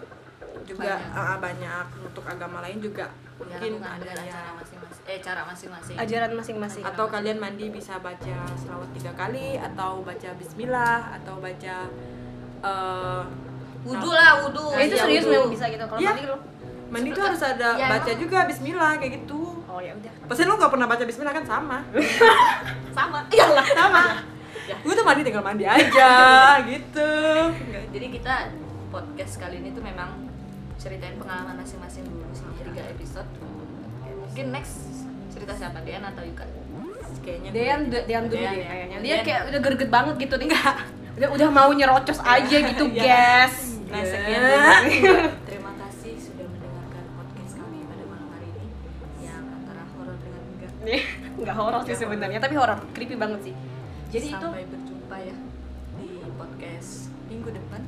Speaker 1: juga
Speaker 2: Banyak. Iya,
Speaker 1: banyak, banyak. untuk agama lain juga mungkin
Speaker 2: mungkin
Speaker 1: ada
Speaker 2: dengan
Speaker 1: ya.
Speaker 2: cara masing-masing eh cara masing-masing
Speaker 3: Ajaran masing-masing.
Speaker 1: Atau kalian mandi bisa baca selawat tiga kali atau baca bismillah atau baca eh,
Speaker 2: wudhu lah wudhu
Speaker 3: Eh, itu
Speaker 2: Ya,
Speaker 3: serius
Speaker 2: wudhu.
Speaker 3: memang bisa gitu kalau
Speaker 1: Iya.
Speaker 3: mandi lo.
Speaker 1: mandi tuh harus ada
Speaker 2: Ya,
Speaker 1: baca
Speaker 2: emang-
Speaker 1: juga bismillah kayak gitu.
Speaker 3: Oh ya udah.
Speaker 1: Pasti lu gak pernah baca bismillah kan sama.
Speaker 2: sama iyalah
Speaker 1: sama
Speaker 2: Ya.
Speaker 1: gue tuh mandi tinggal mandi aja *laughs* gitu
Speaker 2: jadi kita podcast kali ini tuh memang ceritain pengalaman masing-masing dulu selama
Speaker 3: Iya.
Speaker 2: tiga episode mungkin next cerita siapa Dian atau Yuka
Speaker 3: Ya.
Speaker 2: kayaknya
Speaker 3: Dean Dean dulu
Speaker 2: Dean,
Speaker 3: deh
Speaker 2: ya.
Speaker 3: kayaknya. Dia
Speaker 2: Dean.
Speaker 3: kayak udah gerget banget gitu nih. Enggak. Udah, udah mau nyerocos aja gitu, guys.
Speaker 2: Nah, sekian dulu.
Speaker 3: *laughs*
Speaker 2: Terima kasih sudah mendengarkan podcast kami pada malam hari ini yang antara horor dengan enggak.
Speaker 6: nih nggak horor sih sebenarnya
Speaker 3: Tapi horor, creepy banget sih. Jadi itu
Speaker 2: sampai berjumpa ya di podcast minggu depan.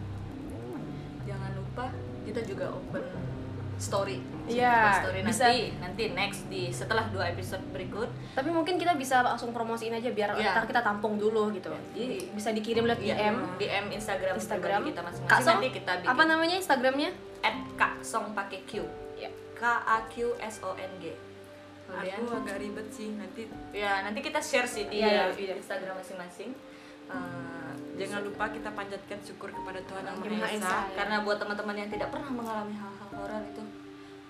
Speaker 2: Jangan lupa kita juga open story.
Speaker 3: Iya,
Speaker 2: Open story
Speaker 3: bisa.
Speaker 2: nanti nanti next di setelah dua episode berikut.
Speaker 3: tapi mungkin kita bisa langsung promosiin aja biar
Speaker 2: Iya.
Speaker 3: ntar kita tampung dulu gitu. Jadi bisa dikirim lewat
Speaker 2: Iya,
Speaker 3: DM,
Speaker 2: DM Instagram
Speaker 3: Instagram.
Speaker 2: pribadi kita
Speaker 3: Kak
Speaker 2: masing-masing
Speaker 3: Song,
Speaker 2: nanti kita bikin
Speaker 3: apa namanya Instagramnya?
Speaker 2: @kaksong pakai Q.
Speaker 3: Iya.
Speaker 2: K A Q S O N G.
Speaker 1: aku agak ribet sih nanti
Speaker 2: Ya, nanti kita share sih di
Speaker 3: Iya, iya.
Speaker 2: Instagram masing-masing. Eh,
Speaker 1: jangan lupa kita panjatkan syukur kepada Tuhan yang
Speaker 3: Yang
Speaker 1: Maha
Speaker 3: Maha
Speaker 1: Esa Iya.
Speaker 3: Esa.
Speaker 2: Karena buat teman-teman yang tidak pernah mengalami hal-hal horor itu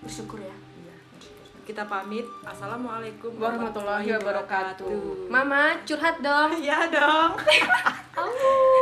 Speaker 2: bersyukur ya.
Speaker 1: kita pamit assalamualaikum
Speaker 6: Warahmatullahi wabarakatuh.
Speaker 1: Iya *laughs*
Speaker 3: Mama curhat dong.
Speaker 1: ya dong *laughs*